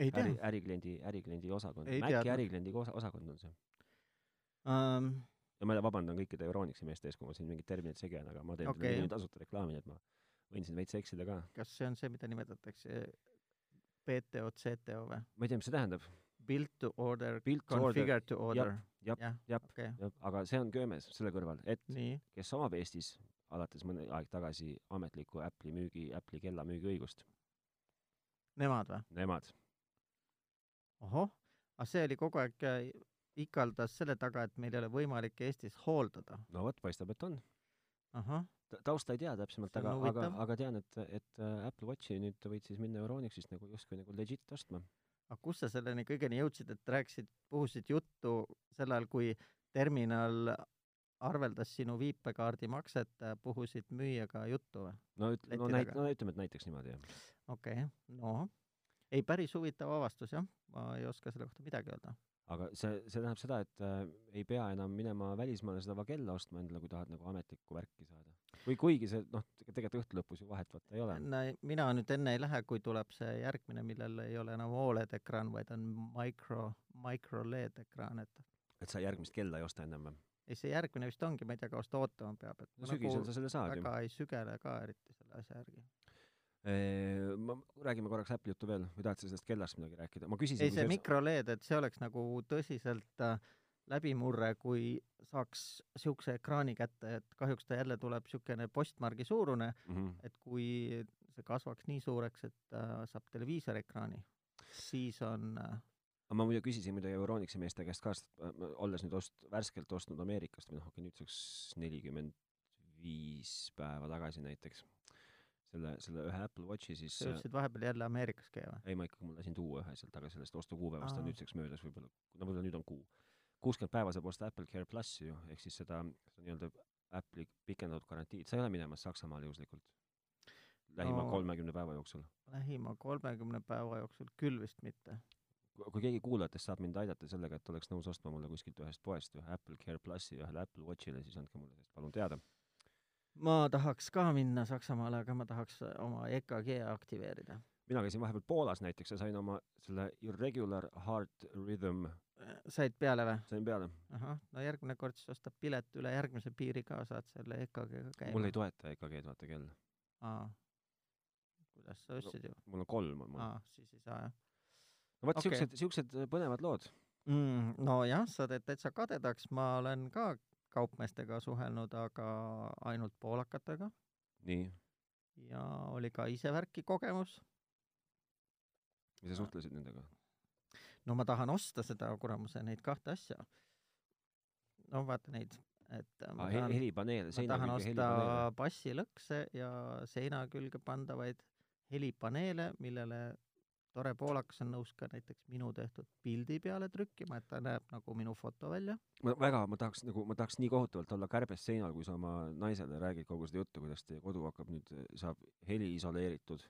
[SPEAKER 2] ei tea
[SPEAKER 1] äri ,. ärikliendi , ärikliendi osakond ,
[SPEAKER 2] Ei
[SPEAKER 1] Maci
[SPEAKER 2] teadnud.
[SPEAKER 1] ärikliendi osa- osakond on see .
[SPEAKER 2] Um,
[SPEAKER 1] ja ma vabandan kõikide Euronixi meeste ees , kui ma siin mingid terminid segi ajan , aga ma teen okay.
[SPEAKER 2] Okei.
[SPEAKER 1] neile nüüd tasuta reklaami , nii et ma võin siin veits eksida ka .
[SPEAKER 2] kas see on see , mida nimetatakse BTO , CTO või ?
[SPEAKER 1] ma ei tea , mis see tähendab ,
[SPEAKER 2] Build to order ,
[SPEAKER 1] Build to order.
[SPEAKER 2] configure to order .
[SPEAKER 1] jap,
[SPEAKER 2] jah ,
[SPEAKER 1] jap.
[SPEAKER 2] okei ,
[SPEAKER 1] aga see on köömes selle kõrval , et
[SPEAKER 2] nii ,
[SPEAKER 1] kes omab Eestis alates mõni aeg tagasi ametlikku Apple'i müügi , Apple'i kella müügiõigust ,
[SPEAKER 2] nemad või ?
[SPEAKER 1] nemad .
[SPEAKER 2] ohoh , aga see oli kogu aeg äh, ikaldas selle taga , et meil ei ole võimalik Eestis hooldada .
[SPEAKER 1] no vot , paistab , et on .
[SPEAKER 2] ahah ,
[SPEAKER 1] tausta ei tea täpsemalt ,
[SPEAKER 2] See on
[SPEAKER 1] aga , aga
[SPEAKER 2] huvitav. ,
[SPEAKER 1] aga tean , et , et äh, Apple Watchi nüüd võid siis minna Euronixist nagu justkui nagu legit ostma .
[SPEAKER 2] aga kus sa selleni kõigeni jõudsid , et rääkisid , puhusid juttu sel ajal , kui terminal arveldas sinu viipekaardimakset , puhusid müüjaga juttu või ?
[SPEAKER 1] no üt- , no
[SPEAKER 2] Leti
[SPEAKER 1] näit- ,
[SPEAKER 2] taga.
[SPEAKER 1] no ütleme , et näiteks niimoodi , jah .
[SPEAKER 2] okei okay, , no ei , päris huvitav avastus jah , ma ei oska selle kohta midagi öelda .
[SPEAKER 1] aga see , see tähendab seda , et äh, ei pea enam minema välismaale seda Vagella ostma endale , kui tahad nagu ametlikku värki saada . või kuigi see , noh , tegelikult õhtu lõpus ju vahet vaata ei ole .
[SPEAKER 2] no mina nüüd enne ei lähe , kui tuleb see järgmine , millel ei ole enam Oled ekraan , vaid on micro , micro LED ekraan , et
[SPEAKER 1] et sa järgmist kella ei osta ennem või ?
[SPEAKER 2] ei see järgmine vist ongi , ma ei tea , kaua seda ootama peab , et
[SPEAKER 1] no
[SPEAKER 2] ma
[SPEAKER 1] sügisel
[SPEAKER 2] nagu
[SPEAKER 1] sa selle saad ju
[SPEAKER 2] väga . ei sügele ka eriti selle asja järgi .
[SPEAKER 1] ma , räägime korraks Apple'i juttu veel või tahad sa sellest kellast midagi rääkida ? ma küsisin .
[SPEAKER 2] ei see . micro LED , et see oleks nagu tõsiselt äh, läbimurre , kui saaks siukse ekraani kätte , et kahjuks ta jälle tuleb siukene postmargi suurune ,
[SPEAKER 1] Mhm.
[SPEAKER 2] et kui see kasvaks nii suureks , et äh, saab televiisori ekraani , siis on äh,
[SPEAKER 1] aga ma muidu küsisin muidu Euronixi meeste käest ka , sest äh, ma- olles nüüd ost- , värskelt ostnud Ameerikast või noh , okei nüüdseks nelikümmend viis päeva tagasi näiteks selle , selle ühe Apple Watchi , siis äh,
[SPEAKER 2] sa jõudsid vahepeal jälle Ameerikas käima ?
[SPEAKER 1] ei , ma ikkagi , ma lasin tuua ühe sealt , aga sellest ostukuupäevast on
[SPEAKER 2] Aa.
[SPEAKER 1] nüüdseks möödas võib-olla , no võib-olla nüüd on kuu . kuuskümmend päeva saab osta Apple Care plussi ju , ehk siis seda, seda nii-öelda Apple'i pikendatud garantiid , sa ei ole minemas Saksamaale juhuslikult ? lähima
[SPEAKER 2] No.
[SPEAKER 1] kolmekümne päeva jooksul .
[SPEAKER 2] lähima kolmekümne päeva jooksul küll vist mitte .
[SPEAKER 1] kui keegi kuulajatest saab mind aidata sellega , et oleks nõus ostma mulle kuskilt ühest poest ühe Apple Care plussi ja ühele Apple Watchile , siis andke mulle sellest palun teada .
[SPEAKER 2] ma tahaks ka minna Saksamaale , aga ma tahaks äh, oma EKG aktiveerida .
[SPEAKER 1] mina käisin vahepeal Poolas näiteks ja sain oma selle Irregular Heart Rhythm ,
[SPEAKER 2] said peale või ?
[SPEAKER 1] sain peale .
[SPEAKER 2] ahah , no järgmine kord siis ostad pilet üle järgmise piiri ka , saad selle EKG-ga käima .
[SPEAKER 1] mul ei toeta EKG-d , vaata kell .
[SPEAKER 2] aa . kuidas sa ostsid ju ?
[SPEAKER 1] mul on kolm on mul .
[SPEAKER 2] aa , siis ei saa jah
[SPEAKER 1] no vot
[SPEAKER 2] okei.
[SPEAKER 1] okay. , siuksed , siuksed
[SPEAKER 2] äh,
[SPEAKER 1] põnevad lood .
[SPEAKER 2] mm, . nojah , sa teed täitsa kadedaks , ma olen ka kaupmeestega suhelnud , aga ainult poolakatega
[SPEAKER 1] nii ,
[SPEAKER 2] ja oli ka ise värki kogemus .
[SPEAKER 1] ja sa suhtlesid nendega ?
[SPEAKER 2] no ma tahan osta seda kuramuse neid kahte asja . no vaata neid , et äh, ma
[SPEAKER 1] aa ,
[SPEAKER 2] tahan ,
[SPEAKER 1] helipaneel ,
[SPEAKER 2] ma
[SPEAKER 1] seina
[SPEAKER 2] tahan
[SPEAKER 1] külge
[SPEAKER 2] osta
[SPEAKER 1] helipaneel .
[SPEAKER 2] bassilõkse ja seina külge pandavaid helipaneele , millele tore poolakas on nõus ka näiteks minu tehtud pildi peale trükkima , et ta näeb nagu minu foto välja .
[SPEAKER 1] ma väga , ma tahaks nagu , ma tahaks nii kohutavalt olla kärbes seinal , kui sa oma naisele räägid kogu seda juttu , kuidas teie kodu hakkab nüüd , saab heli isoleeritud .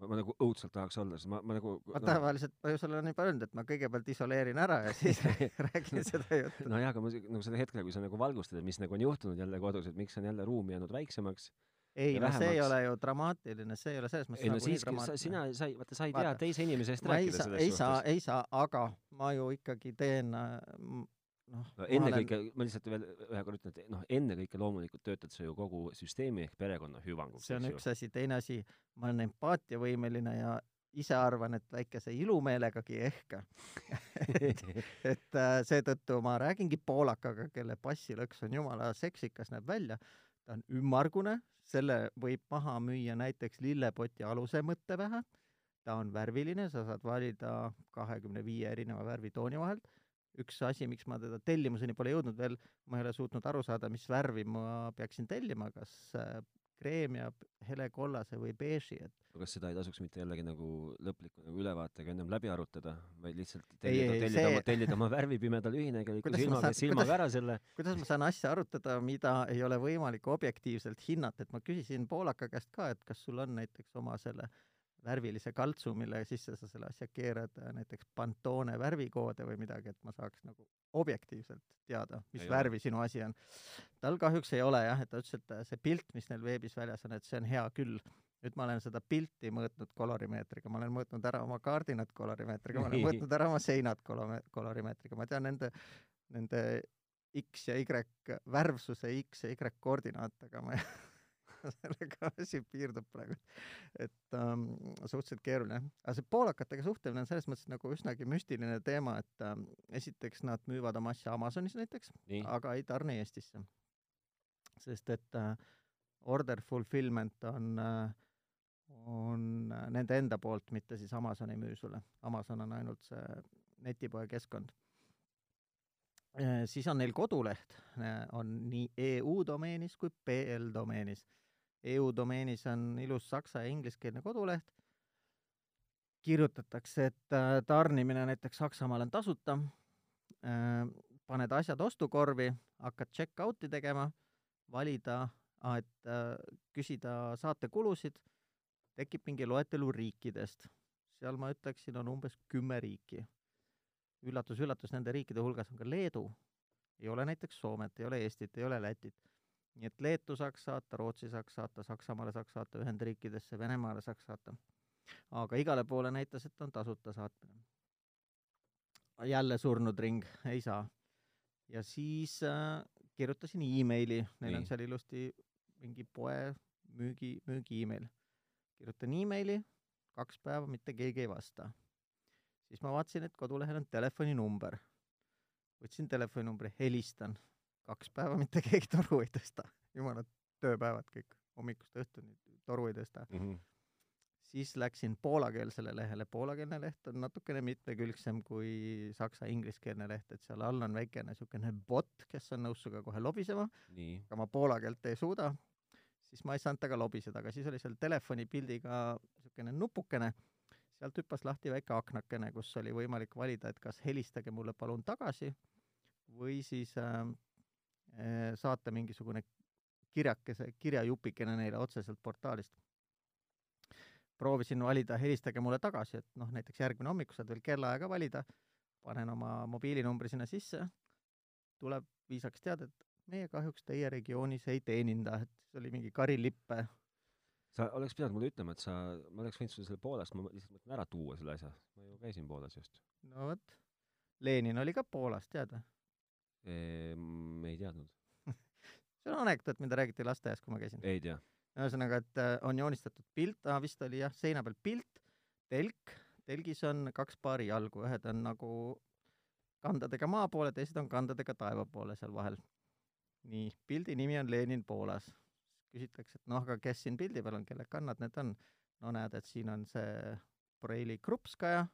[SPEAKER 1] ma , ma nagu õudselt tahaks olla , sest ma , ma nagu
[SPEAKER 2] ma tavaliselt , ma ju sulle olen juba öelnud , et ma kõigepealt isoleerin ära ja siis räägin seda juttu .
[SPEAKER 1] nojah , aga ma se- nagu selle hetkel , kui sa nagu valgustad , et mis nagu on juhtunud jälle kodus , et miks on jälle ruum jäänud väiksemaks .
[SPEAKER 2] ei
[SPEAKER 1] ja
[SPEAKER 2] no see ei
[SPEAKER 1] vähemaks.
[SPEAKER 2] ole ju dramaatiline , see ei ole selles mõttes
[SPEAKER 1] ei no
[SPEAKER 2] nagunii
[SPEAKER 1] siiski , sa ,
[SPEAKER 2] dramaatiline .
[SPEAKER 1] sina sai , vaata , sa ei tea
[SPEAKER 2] Vaata,
[SPEAKER 1] teise inimese eest
[SPEAKER 2] ma ei
[SPEAKER 1] rääkida
[SPEAKER 2] saa ,
[SPEAKER 1] selles
[SPEAKER 2] ei
[SPEAKER 1] suhtes .
[SPEAKER 2] saa , ei saa , aga ma ju ikkagi teen äh, m- noh ,
[SPEAKER 1] no ennekõike olen... , ma lihtsalt veel ühe korra ütlen , et noh , ennekõike loomulikult töötad sa ju kogu süsteemi ehk perekonna hüvanguks .
[SPEAKER 2] see on üks asi , teine asi , ma olen empaatiavõimeline ja ise arvan , et väikese ilumeelegagi ehk , et äh, seetõttu ma räägingi poolakaga , kelle passilõks on jumala seksikas , näeb välja , ta on ümmargune , selle võib maha müüa näiteks lillepoti aluse mõtte pähe , ta on värviline , sa saad valida kahekümne viie erineva värvitooni vahelt , üks asi , miks ma teda tellimuseni pole jõudnud veel , ma ei ole suutnud aru saada , mis värvi ma peaksin tellima , kas äh, kreemiab hele kollase või beeži , et
[SPEAKER 1] kas seda ei tasuks mitte jällegi nagu lõpliku nagu ülevaatega ennem läbi arutada , vaid lihtsalt
[SPEAKER 2] Ei,
[SPEAKER 1] tellida ,
[SPEAKER 2] ei,
[SPEAKER 1] tellida
[SPEAKER 2] see-
[SPEAKER 1] oma , tellida oma värvipimeda lühinägeliku
[SPEAKER 2] Kuidas ma
[SPEAKER 1] silmaga ,
[SPEAKER 2] saan-
[SPEAKER 1] silmaga
[SPEAKER 2] kuidas-
[SPEAKER 1] ära selle ,
[SPEAKER 2] kuidas ma saan asja arutada , mida ei ole võimalik objektiivselt hinnata , et ma küsisin poolaka käest ka , et kas sul on näiteks oma selle värvilise kaltsu , mille sisse sa selle asja keerad , näiteks Pantone värvikoode või midagi , et ma saaks nagu objektiivselt teada , mis
[SPEAKER 1] Ei
[SPEAKER 2] ei
[SPEAKER 1] ole.
[SPEAKER 2] värvi ole. sinu asi on . tal kahjuks ei ole jah , et ta ütles , et äh, see pilt , mis neil veebis väljas on , et see on hea küll . nüüd ma olen seda pilti mõõtnud kolorimeetriga , ma olen mõõtnud ära oma kaardinad kolorimeetriga , ma olen mõõtnud ära oma seinad kolome- , kolorimeetriga , ma tean nende , nende X ja Y värvsuse X ja Y koordinaatega ma sellega asi piirdub praegu , et ähm, suhteliselt keeruline . aga see poolakatega suhtlemine on selles mõttes nagu üsnagi müstiline teema , et ähm, esiteks nad müüvad oma asja Amazonis näiteks ,
[SPEAKER 1] nii ,
[SPEAKER 2] aga ei tarni Eestisse . sest et äh, order fulfillment on äh, , on äh, nende enda poolt , mitte siis Amazon ei müü sulle . Amazon on ainult see netipoe keskkond . siis on neil koduleht , on nii EU domeenis kui PL domeenis . EU domeenis on ilus saksa ja ingliskeelne koduleht , kirjutatakse , et äh, tarnimine näiteks Saksamaal on tasuta , paned asjad ostukorvi , hakkad check-out'i tegema , valida , et äh, küsida saatekulusid , tekib mingi loetelu riikidest . seal ma ütleksin , on umbes kümme riiki . üllatus-üllatus , nende riikide hulgas on ka Leedu , ei ole näiteks Soomet , ei ole Eestit , ei ole Lätit . nii et Leetu saaks saata , Rootsi saaks saata , Saksamaale saaks saata , Ühendriikidesse , Venemaale saaks saata . aga igale poole näitas , et on tasuta saatmine . jälle surnud ring , ei saa . ja siis äh, kirjutasin emaili , neil on
[SPEAKER 1] Nii.
[SPEAKER 2] seal ilusti mingi poe müügi , müügi email . kirjutan emaili , kaks päeva mitte keegi ei vasta . siis ma vaatasin , et kodulehel on telefoninumber . võtsin telefoninumbri , helistan , kaks päeva mitte keegi toru ei tõsta . jumala tööpäevad kõik , hommikust õhtuni toru ei tõsta . siis läksin poolakeelsele lehele , poolakeelne leht on natukene mitmekülgsem kui saksa-ingliskeelne leht , et seal all on väikene niisugune bot , kes on nõus sinuga kohe lobisema ,
[SPEAKER 1] nii ,
[SPEAKER 2] aga ma poola keelt ei suuda , siis ma ei saanud temaga lobiseda , aga siis oli seal telefonipildiga niisugune nupukene , sealt hüppas lahti väike aknakene , kus oli võimalik valida , et kas helistage mulle palun tagasi või siis äh, äh, saata mingisugune kirjakese , kirjajupikene neile otseselt portaalist . proovisin valida helistage mulle tagasi , et noh , näiteks järgmine hommik saad veel kellaaega valida , panen oma mobiilinumbri sinna sisse , tuleb viisaks teada , et meie kahjuks teie regioonis ei teeninda , et see oli mingi karilippe .
[SPEAKER 1] sa oleks pidanud mulle ütlema , et sa , ma oleks võinud sulle selle Poolast , ma lihtsalt mõtlen ära tuua selle asja , ma ju käisin Poolas just .
[SPEAKER 2] no vot , Lenin oli ka Poolast , tead või ?
[SPEAKER 1] me Ehm, ei teadnud ,
[SPEAKER 2] see on anekdoot , mida räägiti lasteaias , kui ma käisin .
[SPEAKER 1] ei tea ,
[SPEAKER 2] ühesõnaga , et äh, on joonistatud pilt ah, , vist oli jah , seina peal pilt , telk , telgis on kaks paari jalgu , ühed on nagu kandadega maa poole , teised on kandadega taeva poole seal vahel . nii , pildi nimi on Lenin Poolas . küsitakse , et noh , aga kes siin pildi peal on , kelle kannad need on ? no näed , et siin on see Breili Krupskaja ,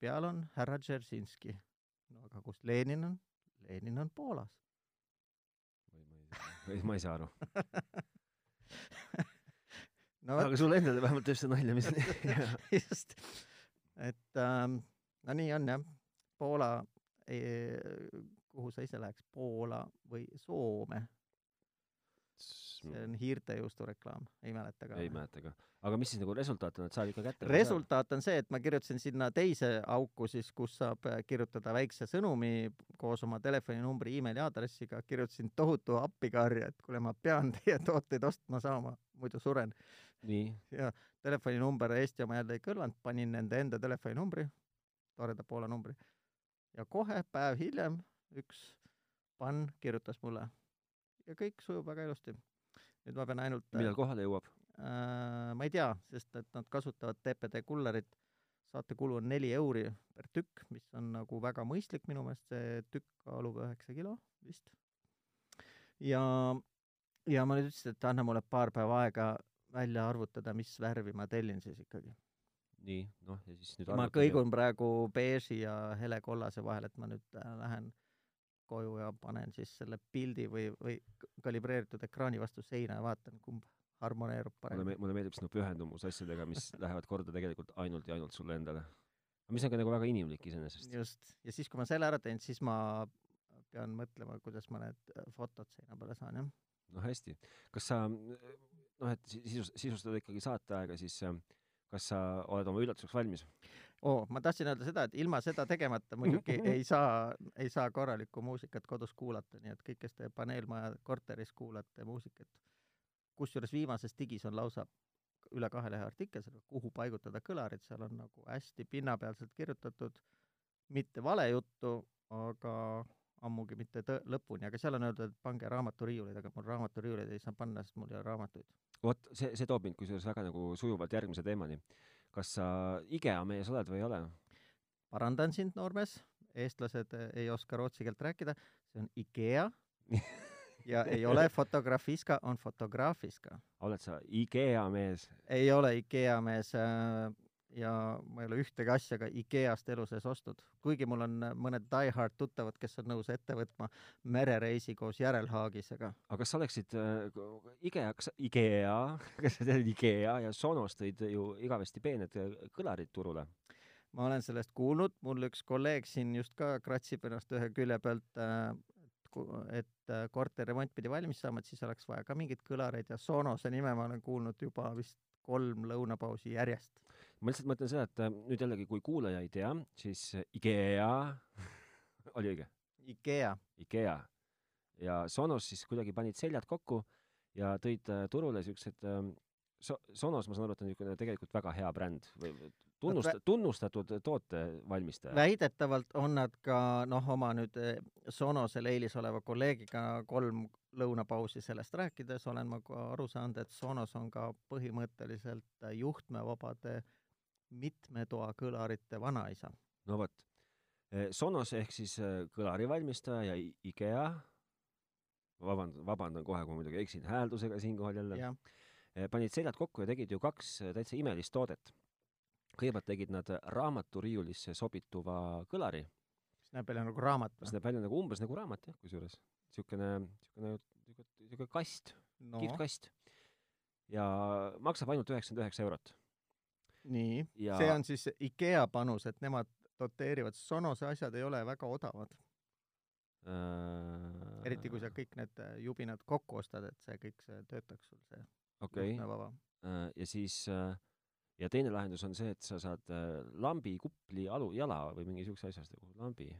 [SPEAKER 2] peal on härra Dzeržinski . no aga kus Lenin on ? Lenin on Poolas .
[SPEAKER 1] ei , ma ei saa aru .
[SPEAKER 2] no vot ,
[SPEAKER 1] aga sul endal vähemalt teeb see nalja , mis
[SPEAKER 2] just , et ähm, no nii on jah , Poola , kuhu sa ise läheks , Poola või Soome , see on hiirtejuustu reklaam , ei mäleta ka
[SPEAKER 1] Mm. ei . mäleta ka . aga mis siis nagu resultaat on , et saad ikka kätte ?
[SPEAKER 2] resultaat on see , et ma kirjutasin sinna teise auku siis , kus saab äh, kirjutada väikse sõnumi koos oma telefoninumbri , emaili aadressiga , kirjutasin tohutu appikarje , et kuule , ma pean teie tooteid ostma saama , muidu suren .
[SPEAKER 1] nii ,
[SPEAKER 2] telefoninumber Eesti oma jälle ei kõlvanud , panin nende enda telefoninumbri , toreda Poola numbri . ja kohe päev hiljem üks pann kirjutas mulle ja kõik sujub väga ilusti . nüüd ma pean ainult , äh,
[SPEAKER 1] millal kohale jõuab ?
[SPEAKER 2] ma ei tea , sest et nad kasutavad TPD kullerit , saatekulu on neli euri per tükk , mis on nagu väga mõistlik minu meelest , see tükk kaalub üheksa kilo vist . ja , ja ma nüüd ütlesin , et anna mulle paar päeva aega välja arvutada , mis värvi ma tellin siis ikkagi .
[SPEAKER 1] nii , noh ja siis nüüd
[SPEAKER 2] ma . kõigun praegu beeži ja hele kollase vahel , et ma nüüd äh, lähen koju ja panen siis selle pildi või , või k- kalibreeritud ekraani vastu seina ja vaatan , kumb harmoneerub paremini .
[SPEAKER 1] mulle , mulle meeldib sinu pühendumus asjadega , mis lähevad korda tegelikult ainult ja ainult sulle endale . mis on ka nagu väga inimlik iseenesest .
[SPEAKER 2] just , ja siis , kui ma selle ära teen , siis ma pean mõtlema , kuidas ma need äh, fotod seina peale saan , jah .
[SPEAKER 1] noh , hästi . kas sa , noh , et si- sisus , sisustada ikkagi saateaega , siis äh, kas sa oled oma üllatuseks valmis ?
[SPEAKER 2] oo , Oh, ma tahtsin öelda seda , et ilma seda tegemata muidugi ei saa , ei saa korralikku muusikat kodus kuulata , nii et kõik , kes te paneelmaja korteris kuulate muusikat , kusjuures viimases digis on lausa üle kahe lehe artikkel selle , kuhu paigutada kõlarid , seal on nagu hästi pinnapealselt kirjutatud , mitte vale juttu , aga ammugi mitte tõ- , lõpuni , aga seal on öeldud , et pange raamaturiiulid , aga mul raamaturiiuleid ei saa panna , sest mul ei ole raamatuid .
[SPEAKER 1] vot see , see toob mind kusjuures väga nagu sujuvalt järgmise teemani . kas sa IKEA mees oled või ei ole ?
[SPEAKER 2] parandan sind , noormees , eestlased eh, ei oska rootsi keelt rääkida , see on IKEA ja ei ole fotografiska , on fotograafiska .
[SPEAKER 1] oled sa IKEA mees ?
[SPEAKER 2] ei ole IKEA mees äh, ja ma ei ole ühtegi asja ka IKEA-st elu sees ostnud , kuigi mul on äh, mõned die-hard tuttavad , kes on nõus ette võtma merereisi koos järelhaagisega .
[SPEAKER 1] aga kas sa oleksid äh, k- IKEA , kas sa- IKEA , kas sa tead IKEA ja Sonost tõid ju igavesti peened äh, kõlarid turule ?
[SPEAKER 2] ma olen sellest kuulnud , mul üks kolleeg siin just ka kratsib ennast ühe külje pealt äh, , et äh, korterremont pidi valmis saama , et siis oleks vaja ka mingeid kõlareid ja Sonose nime ma olen kuulnud juba vist kolm lõunapausi järjest .
[SPEAKER 1] ma lihtsalt mõtlen seda , et äh, nüüd jällegi , kui kuulaja ei tea , siis äh, IKEA oli õige ,
[SPEAKER 2] IKEA ,
[SPEAKER 1] IKEA ja Sonos siis kuidagi panid seljad kokku ja tõid äh, turule siuksed äh, so- , Sonos , ma saan aru , et on niisugune tegelikult väga hea bränd või või tunnust- , tunnustatud tootevalmistaja .
[SPEAKER 2] väidetavalt on nad ka noh , oma nüüd eh, Sonosel eilis oleva kolleegiga kolm lõunapausi sellest rääkides olen ma ka aru saanud , et Sonos on ka põhimõtteliselt eh, juhtmevabade mitme toa kõlarite vanaisa .
[SPEAKER 1] no vot , Sonos ehk siis äh, kõlarivalmistaja ja I- IKEA , vabandan , vabandan kohe , kui ma muidugi eksin hääldusega siinkohal jälle .
[SPEAKER 2] jah ,
[SPEAKER 1] Eh, panid seljad kokku ja tegid ju kaks eh, täitsa imelist toodet . kõigepealt tegid nad raamaturiiulisse sobituva kõlari ,
[SPEAKER 2] mis näeb välja nagu raamat või
[SPEAKER 1] mis ? näeb välja nagu umbes nagu raamat jah , kusjuures niisugune , niisugune , niisugune kast
[SPEAKER 2] no,
[SPEAKER 1] no. , kihvtkast ja maksab ainult üheksakümmend üheksa eurot .
[SPEAKER 2] nii ,
[SPEAKER 1] ja
[SPEAKER 2] see on siis IKEA panus , et nemad doteerivad , Sonose asjad ei ole väga odavad ,
[SPEAKER 1] äh,
[SPEAKER 2] eriti kui sa kõik need äh, jubinad kokku ostad , et see kõik see töötaks sul see
[SPEAKER 1] okei okay. ,
[SPEAKER 2] juhtmevaba .
[SPEAKER 1] ja siis äh, ja teine lahendus on see , et sa saad äh, lambi , kupli , alu , jala või mingi niisuguse asja eest nagu lambi .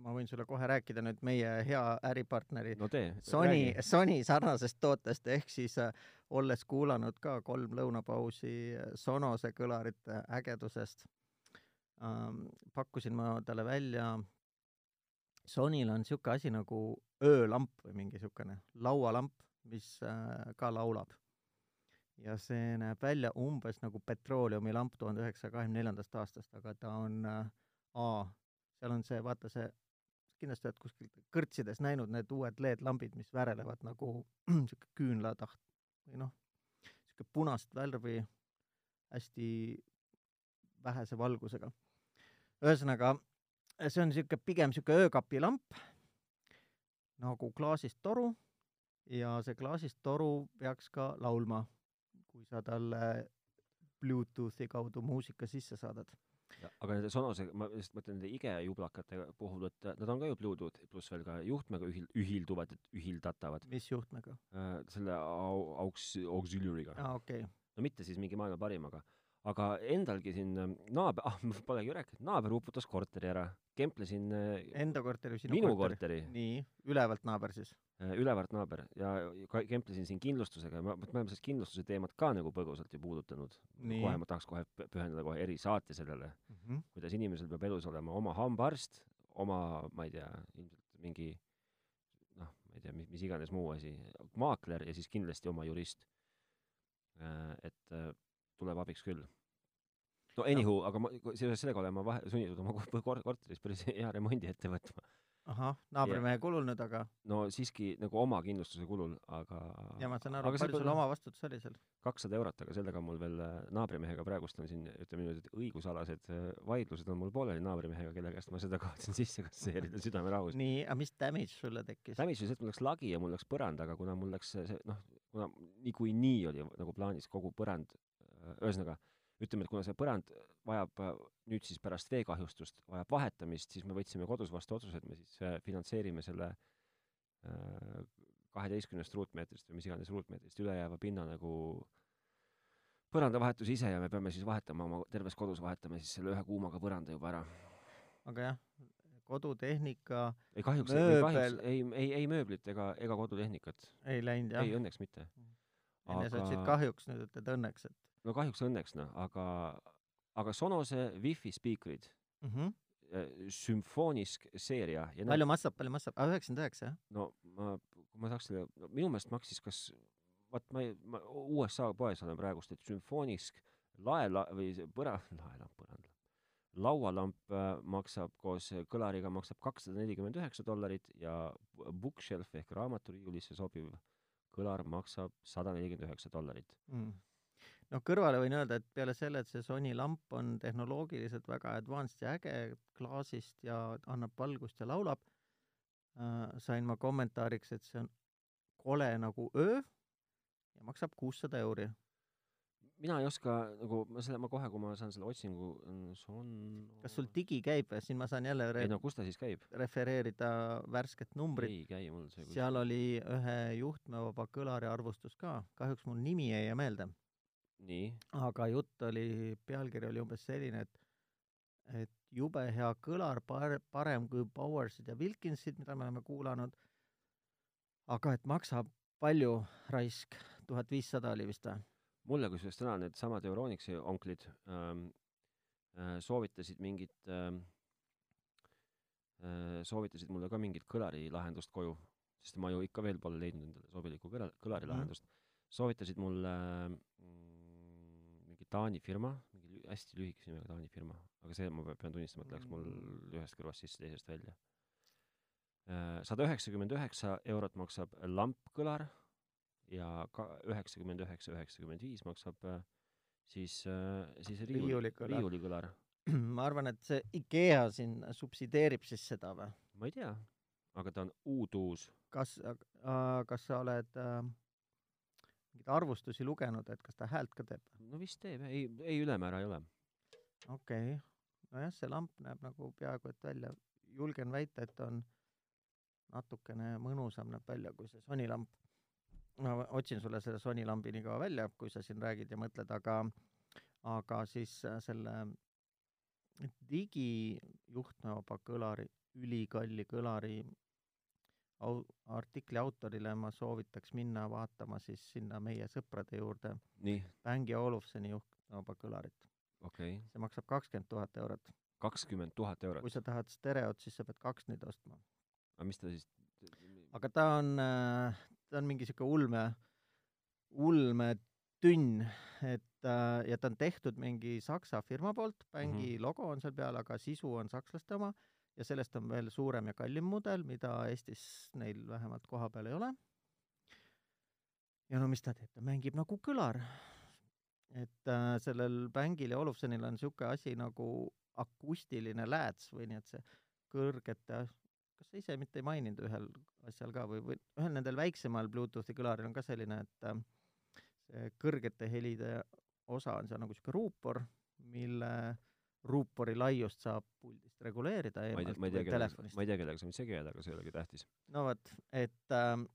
[SPEAKER 2] ma võin sulle kohe rääkida nüüd meie hea äripartneri
[SPEAKER 1] no tee .
[SPEAKER 2] Sony , Sony sarnasest tootest , ehk siis äh, olles kuulanud ka kolm lõunapausi äh, Sonose kõlarite ägedusest ähm, , pakkusin ma talle välja , Sonyl on niisugune asi nagu öölamp või mingi niisugune laualamp , mis äh, ka laulab . ja see näeb välja umbes nagu petrooleumilamp tuhande üheksasaja kahekümne neljandast aastast , aga ta on äh, A , seal on see , vaata see kindlasti oled kuskil kõrtsides näinud need uued LED-lambid , mis värelevad nagu sihuke küünlataht või noh , sihuke punast värvi hästi vähese valgusega . ühesõnaga , see on sihuke pigem sihuke öökapilamp nagu klaasist toru ja see klaasist toru peaks ka laulma , kui sa talle Bluetoothi kaudu muusika sisse saadad .
[SPEAKER 1] Ja- aga nende Sonose , ma just mõtlen nende IKEA jublakate puhul , et äh, nad on ka ju Bluetooth pluss veel ka juhtmega ühil- , ühilduvad , ühildatavad
[SPEAKER 2] mis juhtmega ?
[SPEAKER 1] äh, selle au- , auks- , auxiliary'ga .
[SPEAKER 2] aa , okei okay. ,
[SPEAKER 1] no mitte siis mingi maailma parimaga , aga endalgi siin ähm, naaber , ah , ma polegi ju rääkinud , naaber uputas korteri ära , kemplesin äh,
[SPEAKER 2] enda korter või sinu
[SPEAKER 1] minu
[SPEAKER 2] korter ?
[SPEAKER 1] korteri, korteri. ,
[SPEAKER 2] nii , ülevalt naaber siis .
[SPEAKER 1] üleväärt Äh, naaber ja ka- kemplesin siin kindlustusega , me me oleme sellest kindlustuse teemat ka nagu põgusalt ju puudutanud .
[SPEAKER 2] Nii.
[SPEAKER 1] kohe ma tahaks kohe pü- pühendada kohe erisaate sellele
[SPEAKER 2] mm . -hmm.
[SPEAKER 1] kuidas inimesel peab elus olema oma hambaarst , oma , ma ei tea , ilmselt mingi noh , ma ei tea , mis , mis iganes muu asi , maakler ja siis kindlasti oma jurist . et äh, tuleb abiks küll . no anywho , aga ma , seoses sellega olen ma vahe , sunnitud oma ko- kor- korteris päris hea remondi ette võtma .
[SPEAKER 2] ahah , naabrimehe kulul nüüd aga ,
[SPEAKER 1] no siiski nagu oma kindlustuse kulul , aga
[SPEAKER 2] ja ma saan aru ,
[SPEAKER 1] aga see
[SPEAKER 2] palju
[SPEAKER 1] pole-
[SPEAKER 2] sul omavastutus oli seal ?
[SPEAKER 1] kakssada eurot , aga sellega on mul veel äh, naabrimehega praegust on siin , ütleme niimoodi , et õigusalased äh, vaidlused on mul pooleli naabrimehega , kelle käest ma seda kavatsen sisse kasseerida südamerahus .
[SPEAKER 2] nii , aga mis damage sulle tekkis ?
[SPEAKER 1] Damage oli see , et mul läks lagi ja mul läks põrand , aga kuna mul läks see , see noh , kuna niikuinii oli nagu plaanis kogu põrand, ühesõnaga ütleme, et kuna see põrand vajab äh, nüüd siis pärast veekahjustust, vajab vahetamist, siis me võtsime kodus vastu otsuse, et me siis äh, finantseerime selle äh, kaheteistkümnest ruutmeetrist või mis iganes ruutmeetrist ülejääva pinna nagu põrandavahetus ise ja me peame siis vahetama oma, terves kodus vahetame siis selle ühe kuumaga põranda juba ära.
[SPEAKER 2] aga jah, kodutehnika
[SPEAKER 1] ei kahjuks, ei
[SPEAKER 2] Mööbel-
[SPEAKER 1] kahjuks, ei , ei , ei mööblit ega , ega kodutehnikat ,
[SPEAKER 2] ei läinud jah Mm.
[SPEAKER 1] ei , õnneks mitte .
[SPEAKER 2] enne sa ütlesid kahjuks , nüüd ütled õnneks , et
[SPEAKER 1] no kahjuks õnneks noh , aga , aga Sonose wifi spiikrid ,
[SPEAKER 2] mm -hmm.
[SPEAKER 1] sümfoonisk seeria ja
[SPEAKER 2] palju massab , palju massab , aa üheksakümmend üheksa jah ?
[SPEAKER 1] no ma , kui ma saaks selle , no minu meelest maksis kas , vaat ma ei , ma USA poes olen praegust , et sümfoonisk laela või see põra- , laela , põrand , laualamp äh, maksab koos kõlariga maksab kakssada nelikümmend üheksa dollarit ja bu- bookshelf ehk raamaturiiulisse sobiv kõlar maksab sada nelikümmend üheksa dollarit .
[SPEAKER 2] mm. . noh , kõrvale võin öelda , et peale selle , et see Sony lamp on tehnoloogiliselt väga advanced ja äge klaasist ja annab valgust ja laulab äh, , sain ma kommentaariks , et see on kole nagu öö ja maksab kuussada euri .
[SPEAKER 1] mina ei oska nagu , ma selle , ma kohe , kui ma saan selle otsingu , on
[SPEAKER 2] kas sul digi käib või ? siin ma saan jälle re-
[SPEAKER 1] ei no kus ta siis käib ?
[SPEAKER 2] refereerida värsket numbrit .
[SPEAKER 1] ei käi mul see
[SPEAKER 2] seal oli ühe juhtmevaba kõlari arvustus ka , kahjuks mul nimi ei jää meelde ,
[SPEAKER 1] nii ,
[SPEAKER 2] aga jutt oli , pealkiri oli umbes selline , et et jube hea kõlar , par- , parem kui Powersid ja Wilkinsid , mida me oleme kuulanud , aga et maksab palju raisk , tuhat viissada oli vist või ?
[SPEAKER 1] mulle kusjuures täna needsamad Euronixi onklid ähm, äh, soovitasid mingit ähm, , äh, soovitasid mulle ka mingit kõlarilahendust koju , sest ma ju ikka veel pole leidnud endale sobilikku kõla- , kõlarilahendust mm. . soovitasid mulle mm, mingi Taani firma , mingi lü- hästi lühikese nimega Taani firma , aga see ma pe- pean tunnistama , et läks mul ühest kõrvast sisse , teisest välja . sada üheksakümmend üheksa eurot maksab lampkõlar ja ka üheksakümmend üheksa , üheksakümmend viis maksab äh, siis , siis riiuli ,
[SPEAKER 2] riiulikõlar .
[SPEAKER 1] riiulikõlar .
[SPEAKER 2] ma arvan , et see IKEA siin subsideerib siis seda või ?
[SPEAKER 1] ma ei tea , aga ta on uuduus .
[SPEAKER 2] kas , kas sa oled äh, mingeid arvustusi lugenud , et kas ta häält ka teeb ?
[SPEAKER 1] no vist teeb , ei , ei ülemäära ei ole .
[SPEAKER 2] okei okay. , nojah , see lamp näeb nagu peaaegu et välja , julgen väita , et ta on natukene mõnusam näeb välja kui see Sony lamp . ma võ- otsin sulle selle Sony lambi nii kaua välja , kui sa siin räägid ja mõtled , aga , aga siis äh, selle digijuhtmevaba kõlari , ülikalli kõlari au- , artikli autorile ma soovitaks minna vaatama siis sinna meie sõprade juurde ,
[SPEAKER 1] nii ,
[SPEAKER 2] Bang Olufseni juhtmevaba kõlarit .
[SPEAKER 1] okei okay. ,
[SPEAKER 2] see maksab kakskümmend tuhat eurot .
[SPEAKER 1] kakskümmend tuhat eurot
[SPEAKER 2] kui , sa tahad stereot , siis sa pead kaks neid ostma .
[SPEAKER 1] aga mis ta siis ,
[SPEAKER 2] aga ta on , ta on mingi sihuke ulme , ulmetünn , et äh, ja ta on tehtud mingi saksa firma poolt , bängi mm -hmm. logo on seal peal , aga sisu on sakslaste oma ja sellest on veel suurem ja kallim mudel , mida Eestis neil vähemalt koha peal ei ole . ja no mis ta teeb , ta mängib nagu kõlar . et äh, sellel bängil ja Olufsenil on sihuke asi nagu akustiline lääts või nii , et see kõrgete kas sa ise mitte ei maininud ühel asjal ka või , või ühel nendel väiksemal Bluetoothi kõlaril on ka selline , et äh, see kõrgete helide osa on seal nagu sihuke ruupor , mille ruupori laiust saab puldist reguleerida
[SPEAKER 1] ma ei tea ,
[SPEAKER 2] eemalt
[SPEAKER 1] ma ei tea ,
[SPEAKER 2] või
[SPEAKER 1] kellega ,
[SPEAKER 2] telefonist
[SPEAKER 1] ma . ei tea , kellega sa mind segi ajad , aga see ei olegi tähtis .
[SPEAKER 2] no vot , et ähm,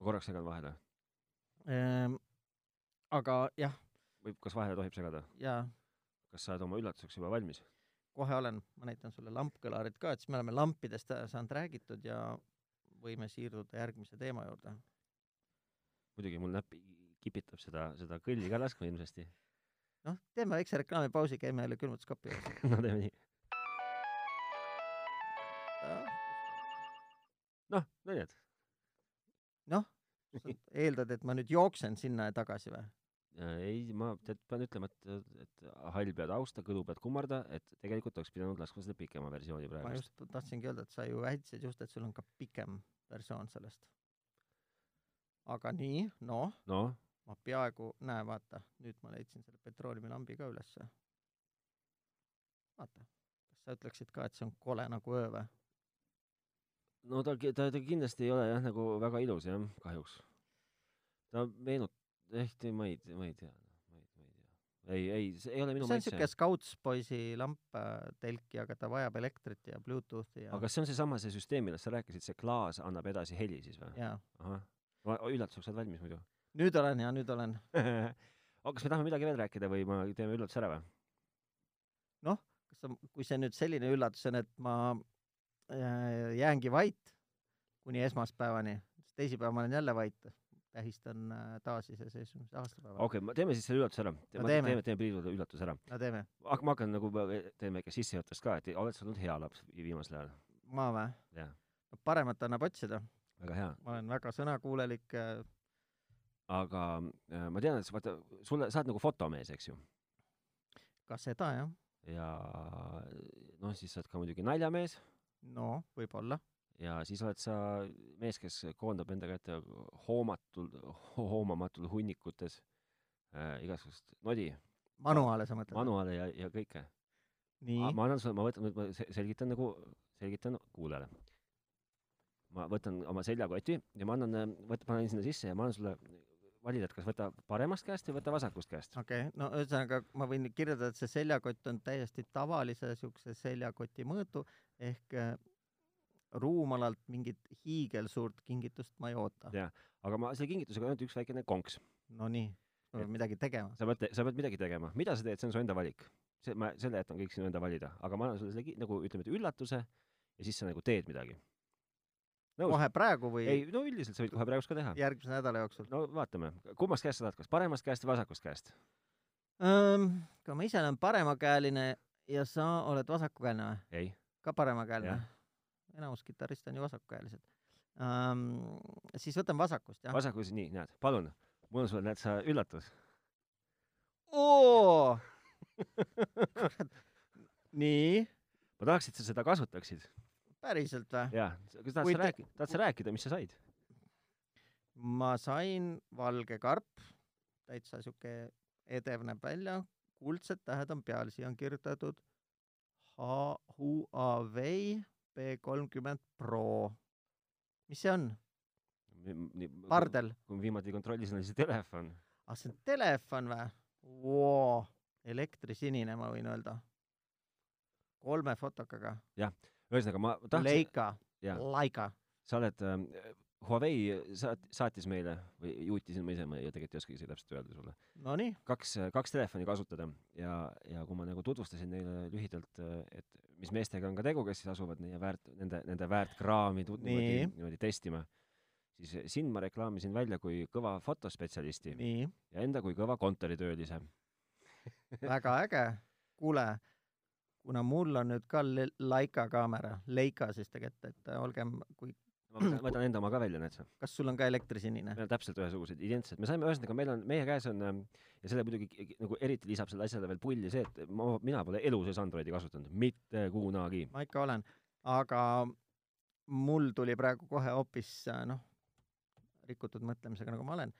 [SPEAKER 1] ma korraks segan vahele .
[SPEAKER 2] ähm, aga jah ,
[SPEAKER 1] või kas vahele tohib segada ?
[SPEAKER 2] jaa ,
[SPEAKER 1] kas sa oled oma üllatuseks juba valmis ?
[SPEAKER 2] kohe olen , ma näitan sulle lampkõlarit ka , et siis me oleme lampidest äh, saanud räägitud ja võime siirduda järgmise teema juurde .
[SPEAKER 1] muidugi mul näpp kipitab seda , seda kõlli ka laskma hirmsasti .
[SPEAKER 2] noh , teeme väikse reklaamipausi , käime jälle külmutuskapi juures .
[SPEAKER 1] no teeme nii . noh , no nii , et
[SPEAKER 2] Sa eeldad , et ma nüüd jooksen sinna ja tagasi või ?
[SPEAKER 1] äh, ei , ma tead , pean ütlema , et , et hall pead austa , kõdu pead kummarda , et tegelikult oleks pidanud laskma selle pikema versiooni
[SPEAKER 2] ma
[SPEAKER 1] praegust .
[SPEAKER 2] just tahtsingi öelda , et sa ju väitsid just , et sul on ka pikem versioon sellest . aga nii , noh ,
[SPEAKER 1] noh ,
[SPEAKER 2] ma peaaegu , näe , vaata , nüüd ma leidsin selle petrooleumlambi ka ülesse . vaata , kas sa ütleksid ka , et see on kole nagu öö või ?
[SPEAKER 1] no ta , ta , ta kindlasti ei ole jah , nagu väga ilus jah , kahjuks . ta meenut- , ehk ma ei , ma ei tea , ma ei , ma ei tea . ei , ei , see ei ole minu
[SPEAKER 2] see on siuke
[SPEAKER 1] maitse .
[SPEAKER 2] Scoutspoisi lamptelki , aga ta vajab elektrit ja Bluetoothi ja
[SPEAKER 1] aga , kas see on seesama , see süsteem , millest sa rääkisid , see klaas annab edasi heli siis või ?
[SPEAKER 2] ja
[SPEAKER 1] ahah , üllatuseks oled valmis muidu ?
[SPEAKER 2] nüüd olen ja nüüd olen .
[SPEAKER 1] aga kas me tahame midagi veel rääkida või ma teeme üllatuse ära või ?
[SPEAKER 2] kas sa , kui see nüüd selline üllatus on , et ma äh, jäängi vait kuni esmaspäevani , siis teisipäev ma olen jälle vait , tähistan äh, taasiseseisvumise aastapäeva
[SPEAKER 1] okei
[SPEAKER 2] okay. .
[SPEAKER 1] okay, , teeme siis selle üllatuse ära .
[SPEAKER 2] teeme.
[SPEAKER 1] teeme , teeme Priidule üllatuse ära .
[SPEAKER 2] no teeme ,
[SPEAKER 1] aga ma hakkan nagu , teeme ikka sissejuhatust ka , et oled sa olnud hea laps vi- viimasel ajal ?
[SPEAKER 2] ma või ?
[SPEAKER 1] jah ,
[SPEAKER 2] no paremat annab otsida ,
[SPEAKER 1] väga hea .
[SPEAKER 2] ma olen väga sõnakuulelik äh,
[SPEAKER 1] aga äh, ma tean , et sa vaata , sulle , sa oled nagu fotomees , eks ju ?
[SPEAKER 2] ka seda jah ,
[SPEAKER 1] ja noh , siis sa oled ka muidugi naljamees
[SPEAKER 2] no võib-olla ,
[SPEAKER 1] ja siis oled sa mees , kes koondab enda kätte hoomatul , hoomamatul hunnikutes äh, igasugust nodi ,
[SPEAKER 2] manuaale sa mõtled ?
[SPEAKER 1] manuaale ja , ja kõike .
[SPEAKER 2] nii ,
[SPEAKER 1] ma annan sulle , ma võtan , ma se- selgitan nagu , selgitan kuulajale . ma võtan oma seljakoti ja ma annan , võt- , panen sinna sisse ja ma annan sulle valida , et kas võta paremast käest või võta vasakust käest .
[SPEAKER 2] okei okay. , no ühesõnaga ma võin nüüd kirjeldada , et see seljakott on täiesti tavalise siukse seljakoti mõõtu ehk äh, ruumalalt mingit hiigelsuurt kingitust ma ei oota
[SPEAKER 1] Ja. . aga ma selle kingitusega on ainult üks väikene konks .
[SPEAKER 2] Nonii , ma
[SPEAKER 1] Et-
[SPEAKER 2] pean midagi tegema .
[SPEAKER 1] sa pead , sa pead midagi tegema , mida sa teed , see on su enda valik . see , ma , selle jätan kõik sinu enda valida , aga ma annan sulle selle ki- nagu ütleme , et üllatuse ja siis sa nagu teed midagi . nõus ?
[SPEAKER 2] kohe praegu või
[SPEAKER 1] ei , no üldiselt sa võid kohe praegust ka teha .
[SPEAKER 2] järgmise nädala jooksul
[SPEAKER 1] no vaatame , kummast käest sa tahad , kas paremast käest või vasakust käest ?
[SPEAKER 2] um, ? ka ma ise olen paremakäeline ja sa oled vasakukäeline või ?
[SPEAKER 1] ei ,
[SPEAKER 2] ka paremakäeline
[SPEAKER 1] Jah. ?
[SPEAKER 2] enamus kitarriste on ju vasakukäelised um, . siis võtan vasakust jah ?
[SPEAKER 1] vasakus , nii , näed , palun , mul on sulle , näed sa , üllatus .
[SPEAKER 2] oo Kurat. nii ,
[SPEAKER 1] ma tahaks , et sa seda kasutaksid .
[SPEAKER 2] päriselt või ?
[SPEAKER 1] jaa , kas tahad
[SPEAKER 2] Kui
[SPEAKER 1] sa
[SPEAKER 2] te-
[SPEAKER 1] rääkida , tahad sa rääkida , mis sa said ?
[SPEAKER 2] ma sain valge karp , täitsa siuke edev näeb välja , kuldsed tähed on peal , siia on kirjutatud H- Huawei B kolmkümmend Pro . mis see on ?
[SPEAKER 1] pardel .
[SPEAKER 2] pardel ?
[SPEAKER 1] kui ma viimati kontrollisin , oli see telefon .
[SPEAKER 2] ah , see on telefon või wow. ? elektrisinine , ma võin öelda . kolme fotokaga .
[SPEAKER 1] ühesõnaga , ma tahaks ,
[SPEAKER 2] Leica ,
[SPEAKER 1] jaa .
[SPEAKER 2] Leica .
[SPEAKER 1] sa oled ähm, , Huawei saat- , saatis meile või juutis , ma ise , ma ei- tegelikult ei oskagi seda täpselt öelda sulle ,
[SPEAKER 2] Nonii ,
[SPEAKER 1] kaks , kaks telefoni kasutada ja , ja kui ma nagu tutvustasin neile lühidalt , et mis meestega on ka tegu , kes siis asuvad meie väärt , nende , nende väärtkraami tut- niimoodi
[SPEAKER 2] Nii. ,
[SPEAKER 1] niimoodi testima , siis sind ma reklaamisin välja kui kõva fotospetsialisti
[SPEAKER 2] nii ,
[SPEAKER 1] ja enda kui kõva kontoritöölise .
[SPEAKER 2] väga äge . kuule , kuna mul on nüüd ka le- Leica kaamera , Leica siis tegelikult , et olgem , kui ,
[SPEAKER 1] ma võtan- võtan enda oma ka välja , näed sa .
[SPEAKER 2] kas sul on ka elektrisinine ?
[SPEAKER 1] meil on täpselt ühesugused , identsed , me saime , ühesõnaga meil on , meie käes on ähm, ja selle muidugi ki- ki- nagu eriti lisab sellele asjale veel pulli see , et ma , mina pole elu sees Androidi kasutanud , mitte kunagi .
[SPEAKER 2] ma ikka olen , aga mul tuli praegu kohe hoopis äh, noh , rikutud mõtlemisega , nagu ma olen ,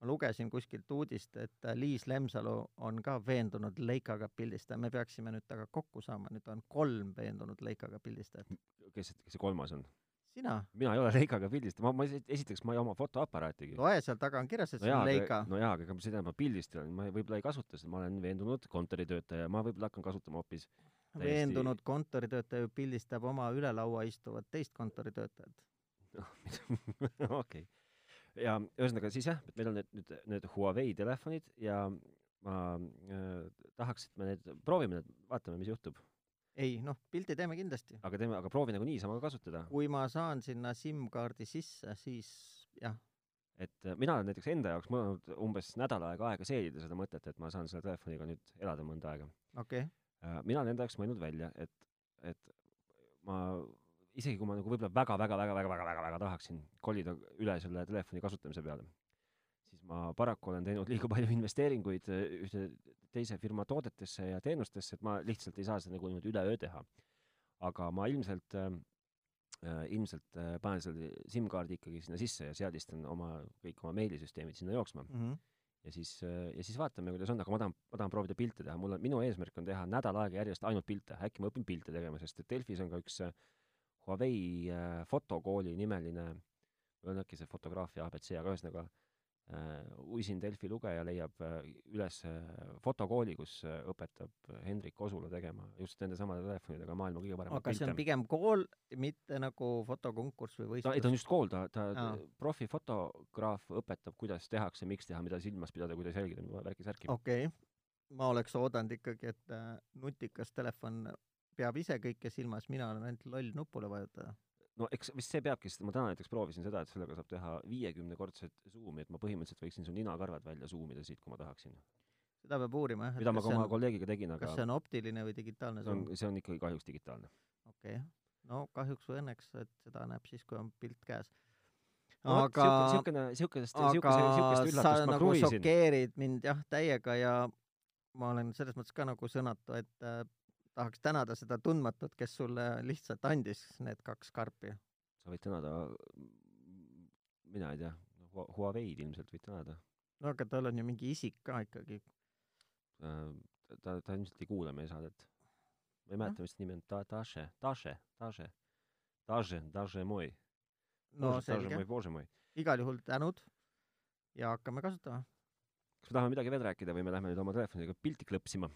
[SPEAKER 2] ma lugesin kuskilt uudist , et äh, Liis Lemsalu on ka veendunud Leikaga pildistaja , me peaksime nüüd temaga kokku saama , nüüd on kolm veendunud Leikaga pildistajat .
[SPEAKER 1] kes , kes see kolmas on ?
[SPEAKER 2] sina ,
[SPEAKER 1] mina ei ole Leicaga pildistanud , ma , ma esi- esiteks , ma ei oma fotoaparaatigi .
[SPEAKER 2] loe seal taga on kirjas , et see on Leica .
[SPEAKER 1] no jaa , aga ega ma seda , ma pildistan , ma ei- võib-olla ei kasuta seda , ma olen veendunud kontoritöötaja , ma võib-olla hakkan kasutama hoopis . täiesti-
[SPEAKER 2] veendunud kontoritöötaja ju pildistab oma üle laua istuvat teist kontoritöötajat .
[SPEAKER 1] okei . ja ühesõnaga siis jah , et meil on need nüüd need Huawei telefonid ja ma äh, tahaks , et me need proovime need , vaatame , mis juhtub .
[SPEAKER 2] ei noh , pildi teeme kindlasti .
[SPEAKER 1] aga teeme , aga proovi nagu niisama ka kasutada ,
[SPEAKER 2] kui ma saan sinna SIM-kaardi sisse , siis jah ,
[SPEAKER 1] et äh, mina olen näiteks enda jaoks , mul on olnud umbes nädal aega aega seedida seda mõtet , et ma saan selle telefoniga nüüd elada mõnda aega .
[SPEAKER 2] okei okay. .
[SPEAKER 1] Äh, mina olen enda jaoks mõelnud välja , et , et ma isegi kui ma nagu võib-olla väga-väga-väga-väga-väga-väga tahaksin kolida üle selle telefoni kasutamise peale , siis ma paraku olen teinud liiga palju investeeringuid äh, ühte teise firma toodetesse ja teenustesse , et ma lihtsalt ei saa seda nagu niimoodi üleöö teha . aga ma ilmselt äh, äh, ilmselt äh, panen selle SIM-kaardi ikkagi sinna sisse ja seadistan oma kõik oma meilisüsteemid sinna jooksma
[SPEAKER 2] Mm -hmm
[SPEAKER 1] ja siis , ja siis vaatame , kuidas on , aga ma tahan , ma tahan proovida pilte teha , mul on , minu eesmärk on teha nädal aega järjest ainult pilte , äkki ma õpin pilte tegema , sest et Delfis on ka üks äh, Huawei äh, fotokooli nimeline , või on äkki see fotograafia abc , aga ühesõnaga uisin Delfi lugeja leiab äh, üles äh, fotokooli, kus äh, õpetab Hendrik Osula tegema just nendesamade telefonidega maailma kõige paremaid
[SPEAKER 2] aga see on
[SPEAKER 1] pilte .
[SPEAKER 2] pigem kool , mitte nagu fotokonkurss või
[SPEAKER 1] ta , ei ta on
[SPEAKER 2] võistlus .
[SPEAKER 1] just kool , ta , ta
[SPEAKER 2] Aa.
[SPEAKER 1] profifotograaf õpetab , kuidas tehakse , miks teha , mida silmas pidada , kuidas jälgida , värki-särki .
[SPEAKER 2] okei , ma oleks oodanud ikkagi , et äh, nutikas telefon peab ise kõike silmas , mina olen ainult loll nupule vajutada .
[SPEAKER 1] no eks vist see peabki , sest ma täna näiteks proovisin seda , et sellega saab teha viiekümnekordset suumi , et ma põhimõtteliselt võiksin su ninakarvad välja suumida siit , kui ma tahaksin .
[SPEAKER 2] seda peab uurima jah ,
[SPEAKER 1] mida ma
[SPEAKER 2] kas
[SPEAKER 1] ka
[SPEAKER 2] see
[SPEAKER 1] oma
[SPEAKER 2] on ,
[SPEAKER 1] kolleegiga tegin , aga
[SPEAKER 2] kas see on optiline või digitaalne
[SPEAKER 1] see on
[SPEAKER 2] suund ,?
[SPEAKER 1] see on ikkagi kahjuks digitaalne .
[SPEAKER 2] okei , no kahjuks või õnneks , et seda näeb siis , kui on pilt käes .
[SPEAKER 1] No vot,
[SPEAKER 2] aga ,
[SPEAKER 1] sihuke- siukene , siukesest ,
[SPEAKER 2] aga
[SPEAKER 1] siukese , siukest
[SPEAKER 2] sa
[SPEAKER 1] üllatust ma
[SPEAKER 2] nagu
[SPEAKER 1] kruviisin .
[SPEAKER 2] šokeerid mind jah täiega ja ma olen selles mõttes ka nagu sõnatu , et äh, tahaks tänada seda tundmatut , kes sulle lihtsalt andis need kaks karpi .
[SPEAKER 1] sa võid tänada , mina ei tea , Huawei'd ilmselt võid tänada .
[SPEAKER 2] no aga tal on ju mingi isik ka ikkagi .
[SPEAKER 1] Äh, ta , ta ilmselt ei kuula meie saadet . ma ei mäleta ,
[SPEAKER 2] Noh.
[SPEAKER 1] mis nimi on , ta- , Daše , Daše , Daše , Daže , Daže moj .
[SPEAKER 2] no
[SPEAKER 1] Daže
[SPEAKER 2] selge
[SPEAKER 1] moj , Bože moj .
[SPEAKER 2] igal juhul tänud ja hakkame kasutama .
[SPEAKER 1] kas me tahame midagi veel rääkida või me lähme nüüd oma telefoniga pilti klõpsima ?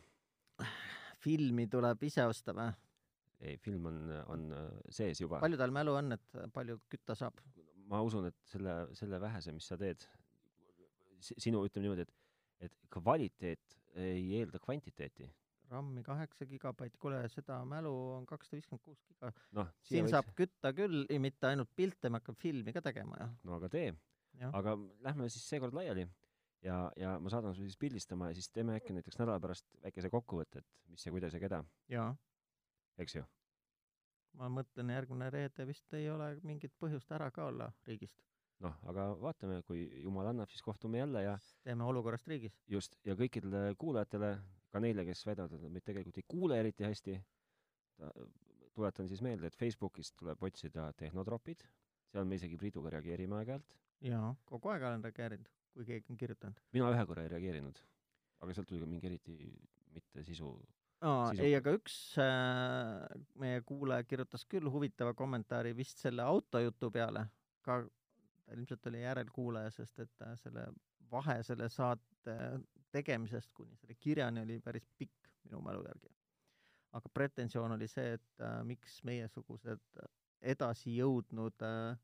[SPEAKER 2] filmi tuleb ise osta või ?
[SPEAKER 1] ei , film on , on äh, sees juba .
[SPEAKER 2] palju tal mälu on , et palju kütta saab ?
[SPEAKER 1] ma usun , et selle , selle vähese , mis sa teed , sinu , ütleme niimoodi , et , et kvaliteet ei eelda kvantiteeti .
[SPEAKER 2] RAM-i kaheksa gigabaiti , kuule seda mälu on kakssada viiskümmend kuus giga .
[SPEAKER 1] noh ,
[SPEAKER 2] siin võid... saab . kütta küll , mitte ainult pilte , me hakkame filmi ka tegema ju .
[SPEAKER 1] no aga tee ,
[SPEAKER 2] Jah.
[SPEAKER 1] aga lähme siis seekord laiali ja , ja ma saadan su siis pildistama ja siis teeme äkki näiteks nädala pärast väikese kokkuvõtte , et mis ja kuidas ja keda ,
[SPEAKER 2] jaa ,
[SPEAKER 1] eks ju .
[SPEAKER 2] ma mõtlen , järgmine reede vist ei ole mingit põhjust ära ka olla riigist .
[SPEAKER 1] noh , aga vaatame , kui jumal annab , siis kohtume jälle ja
[SPEAKER 2] teeme olukorrast riigis .
[SPEAKER 1] just , ja kõikidele kuulajatele , ka neile , kes väidavad , et nad meid tegelikult ei kuule eriti hästi , tuletan siis meelde , et Facebookis tuleb otsida Tehnotropid , seal me isegi Priiduga reageerime aeg-ajalt .
[SPEAKER 2] jaa , kogu aeg olen reageerinud , kui keegi on kirjutanud .
[SPEAKER 1] mina ühe korra ei reageerinud , aga sealt tuli ka mingi eriti mitte sisu .
[SPEAKER 2] aa ,
[SPEAKER 1] Sisu-
[SPEAKER 2] ei , aga üks äh, meie kuulaja kirjutas küll huvitava kommentaari vist selle autojutu peale , ka ta ilmselt oli järelkuulaja , sest et äh, selle vahe selle saate tegemisest kuni selle kirjani oli päris pikk minu mälu järgi . aga pretensioon oli see , et äh, miks meiesugused edasi jõudnud äh,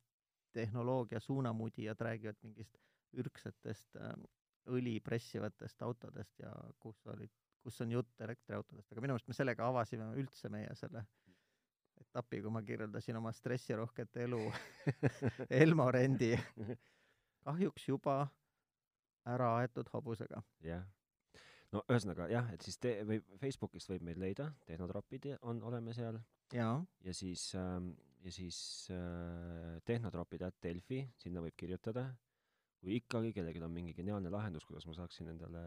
[SPEAKER 2] tehnoloogia suunamudijad räägivad mingist ürgsetest äh, õli pressivatest autodest ja kus olid kus on jutt elektriautodest , aga minu meelest me sellega avasime üldse meie selle etapi , kui ma kirjeldasin oma stressirohket elu Elmo Rendi kahjuks juba ära aetud hobusega .
[SPEAKER 1] jah . no ühesõnaga jah , et siis te- , või Facebookist võib meid leida , Tehnotropid on , oleme seal
[SPEAKER 2] jaa ,
[SPEAKER 1] ja siis ähm, , ja siis äh, tehnotropid.delfi , sinna võib kirjutada . kui ikkagi kellelgi on mingi geniaalne lahendus , kuidas ma saaksin endale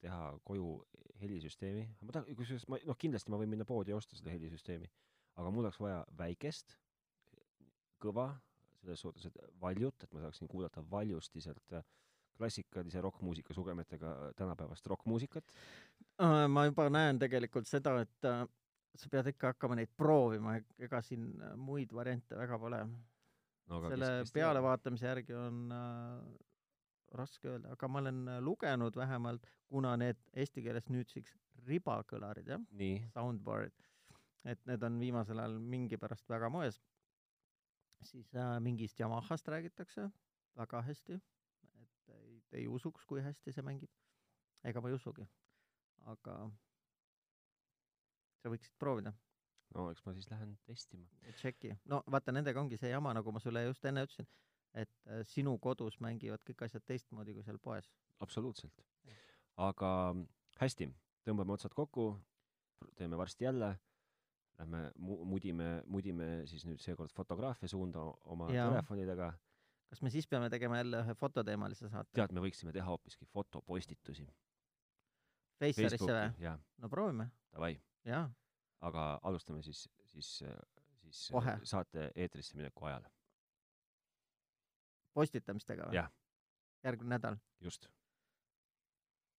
[SPEAKER 1] teha koju helisüsteemi , ma tahan , kusjuures ma , noh , kindlasti ma võin minna poodi ja osta seda helisüsteemi , aga mul oleks vaja väikest , kõva , selles suhtes , et valjut , et ma saaksin kuulata valjusti sealt äh, klassikalise rokkmuusika sugemetega tänapäevast rokkmuusikat .
[SPEAKER 2] Äh, ma juba näen tegelikult seda , et äh, sa pead ikka hakkama neid proovima , ega siin äh, muid variante väga pole .
[SPEAKER 1] no, aga
[SPEAKER 2] selle
[SPEAKER 1] kes- kes teab?
[SPEAKER 2] pealevaatamise järgi on äh, raske öelda , aga ma olen äh, lugenud vähemalt , kuna need eesti keeles nüüdseks ribakõlarid , jah ,
[SPEAKER 1] nii ,
[SPEAKER 2] soundbar'id , et need on viimasel ajal mingi pärast väga moes , siis äh, mingist Yamahast räägitakse väga hästi , et ei, ei usuks , kui hästi see mängib . ega ma ei usugi , aga sa võiksid proovida ,
[SPEAKER 1] no eks ma siis lähen testima .
[SPEAKER 2] tšeki . no vaata , nendega ongi see jama , nagu ma sulle just enne ütlesin , et äh, sinu kodus mängivad kõik asjad teistmoodi kui seal poes .
[SPEAKER 1] absoluutselt . aga mm, hästi , tõmbame otsad kokku , teeme varsti jälle , lähme mu- , mudime , mudime siis nüüd seekord fotograafia suunda o- oma ja.
[SPEAKER 2] Jaa.
[SPEAKER 1] telefonidega .
[SPEAKER 2] kas me siis peame tegema jälle ühe fototeemalise saate ?
[SPEAKER 1] tead , me võiksime teha hoopiski fotopostitusi .
[SPEAKER 2] Feisarisse või ?
[SPEAKER 1] jah ,
[SPEAKER 2] no proovime ,
[SPEAKER 1] davai ,
[SPEAKER 2] jaa .
[SPEAKER 1] aga alustame siis , siis , siis äh,
[SPEAKER 2] Kohe.
[SPEAKER 1] saate eetrisse mineku ajal ,
[SPEAKER 2] postitamistega või
[SPEAKER 1] Jah. ?
[SPEAKER 2] järgmine nädal .
[SPEAKER 1] just .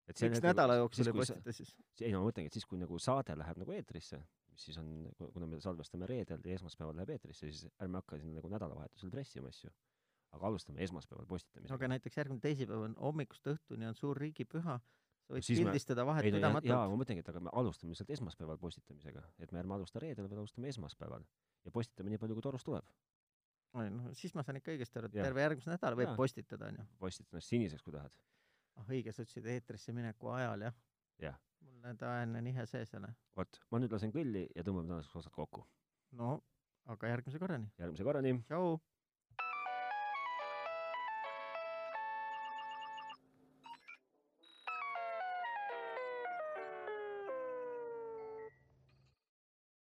[SPEAKER 2] miks
[SPEAKER 1] nagu
[SPEAKER 2] nädala jooksul ei postita siis ?
[SPEAKER 1] see- ei no ma mõtlengi , et siis , kui nagu saade läheb nagu eetrisse , mis siis on , kuna me salvestame reedel ja esmaspäeval läheb eetrisse , siis ärme hakka sinna nagu nädalavahetusel pressima nagu asju . aga alustame esmaspäeval postitamisega
[SPEAKER 2] aga näiteks järgmine teisipäev on hommikust õhtuni on suur riigipüha, sa võid
[SPEAKER 1] Siis me-
[SPEAKER 2] pildistada vahet
[SPEAKER 1] ei no ja- jaa ,
[SPEAKER 2] pidamatult .
[SPEAKER 1] ma mõtlengi , et aga me alustame lihtsalt esmaspäeval postitamisega , et me ärme alusta reedel , vaid alustame esmaspäeval ja postitame nii palju , kui torus tuleb .
[SPEAKER 2] noh , siis ma saan ikka õigesti aru , et
[SPEAKER 1] Jah.
[SPEAKER 2] terve järgmise nädala võib
[SPEAKER 1] Jaa.
[SPEAKER 2] postitada , onju .
[SPEAKER 1] postita ennast siniseks , kui tahad .
[SPEAKER 2] ah õige , sa ütlesid eetrisse mineku ajal , jah ?
[SPEAKER 1] Jah.
[SPEAKER 2] mul need ajaline nihe sees ei ole .
[SPEAKER 1] vot , ma nüüd lasen kõlli ja tõmbame tänaseks osad kokku .
[SPEAKER 2] no aga järgmise korrani ,
[SPEAKER 1] järgmise korrani ,
[SPEAKER 2] tšau .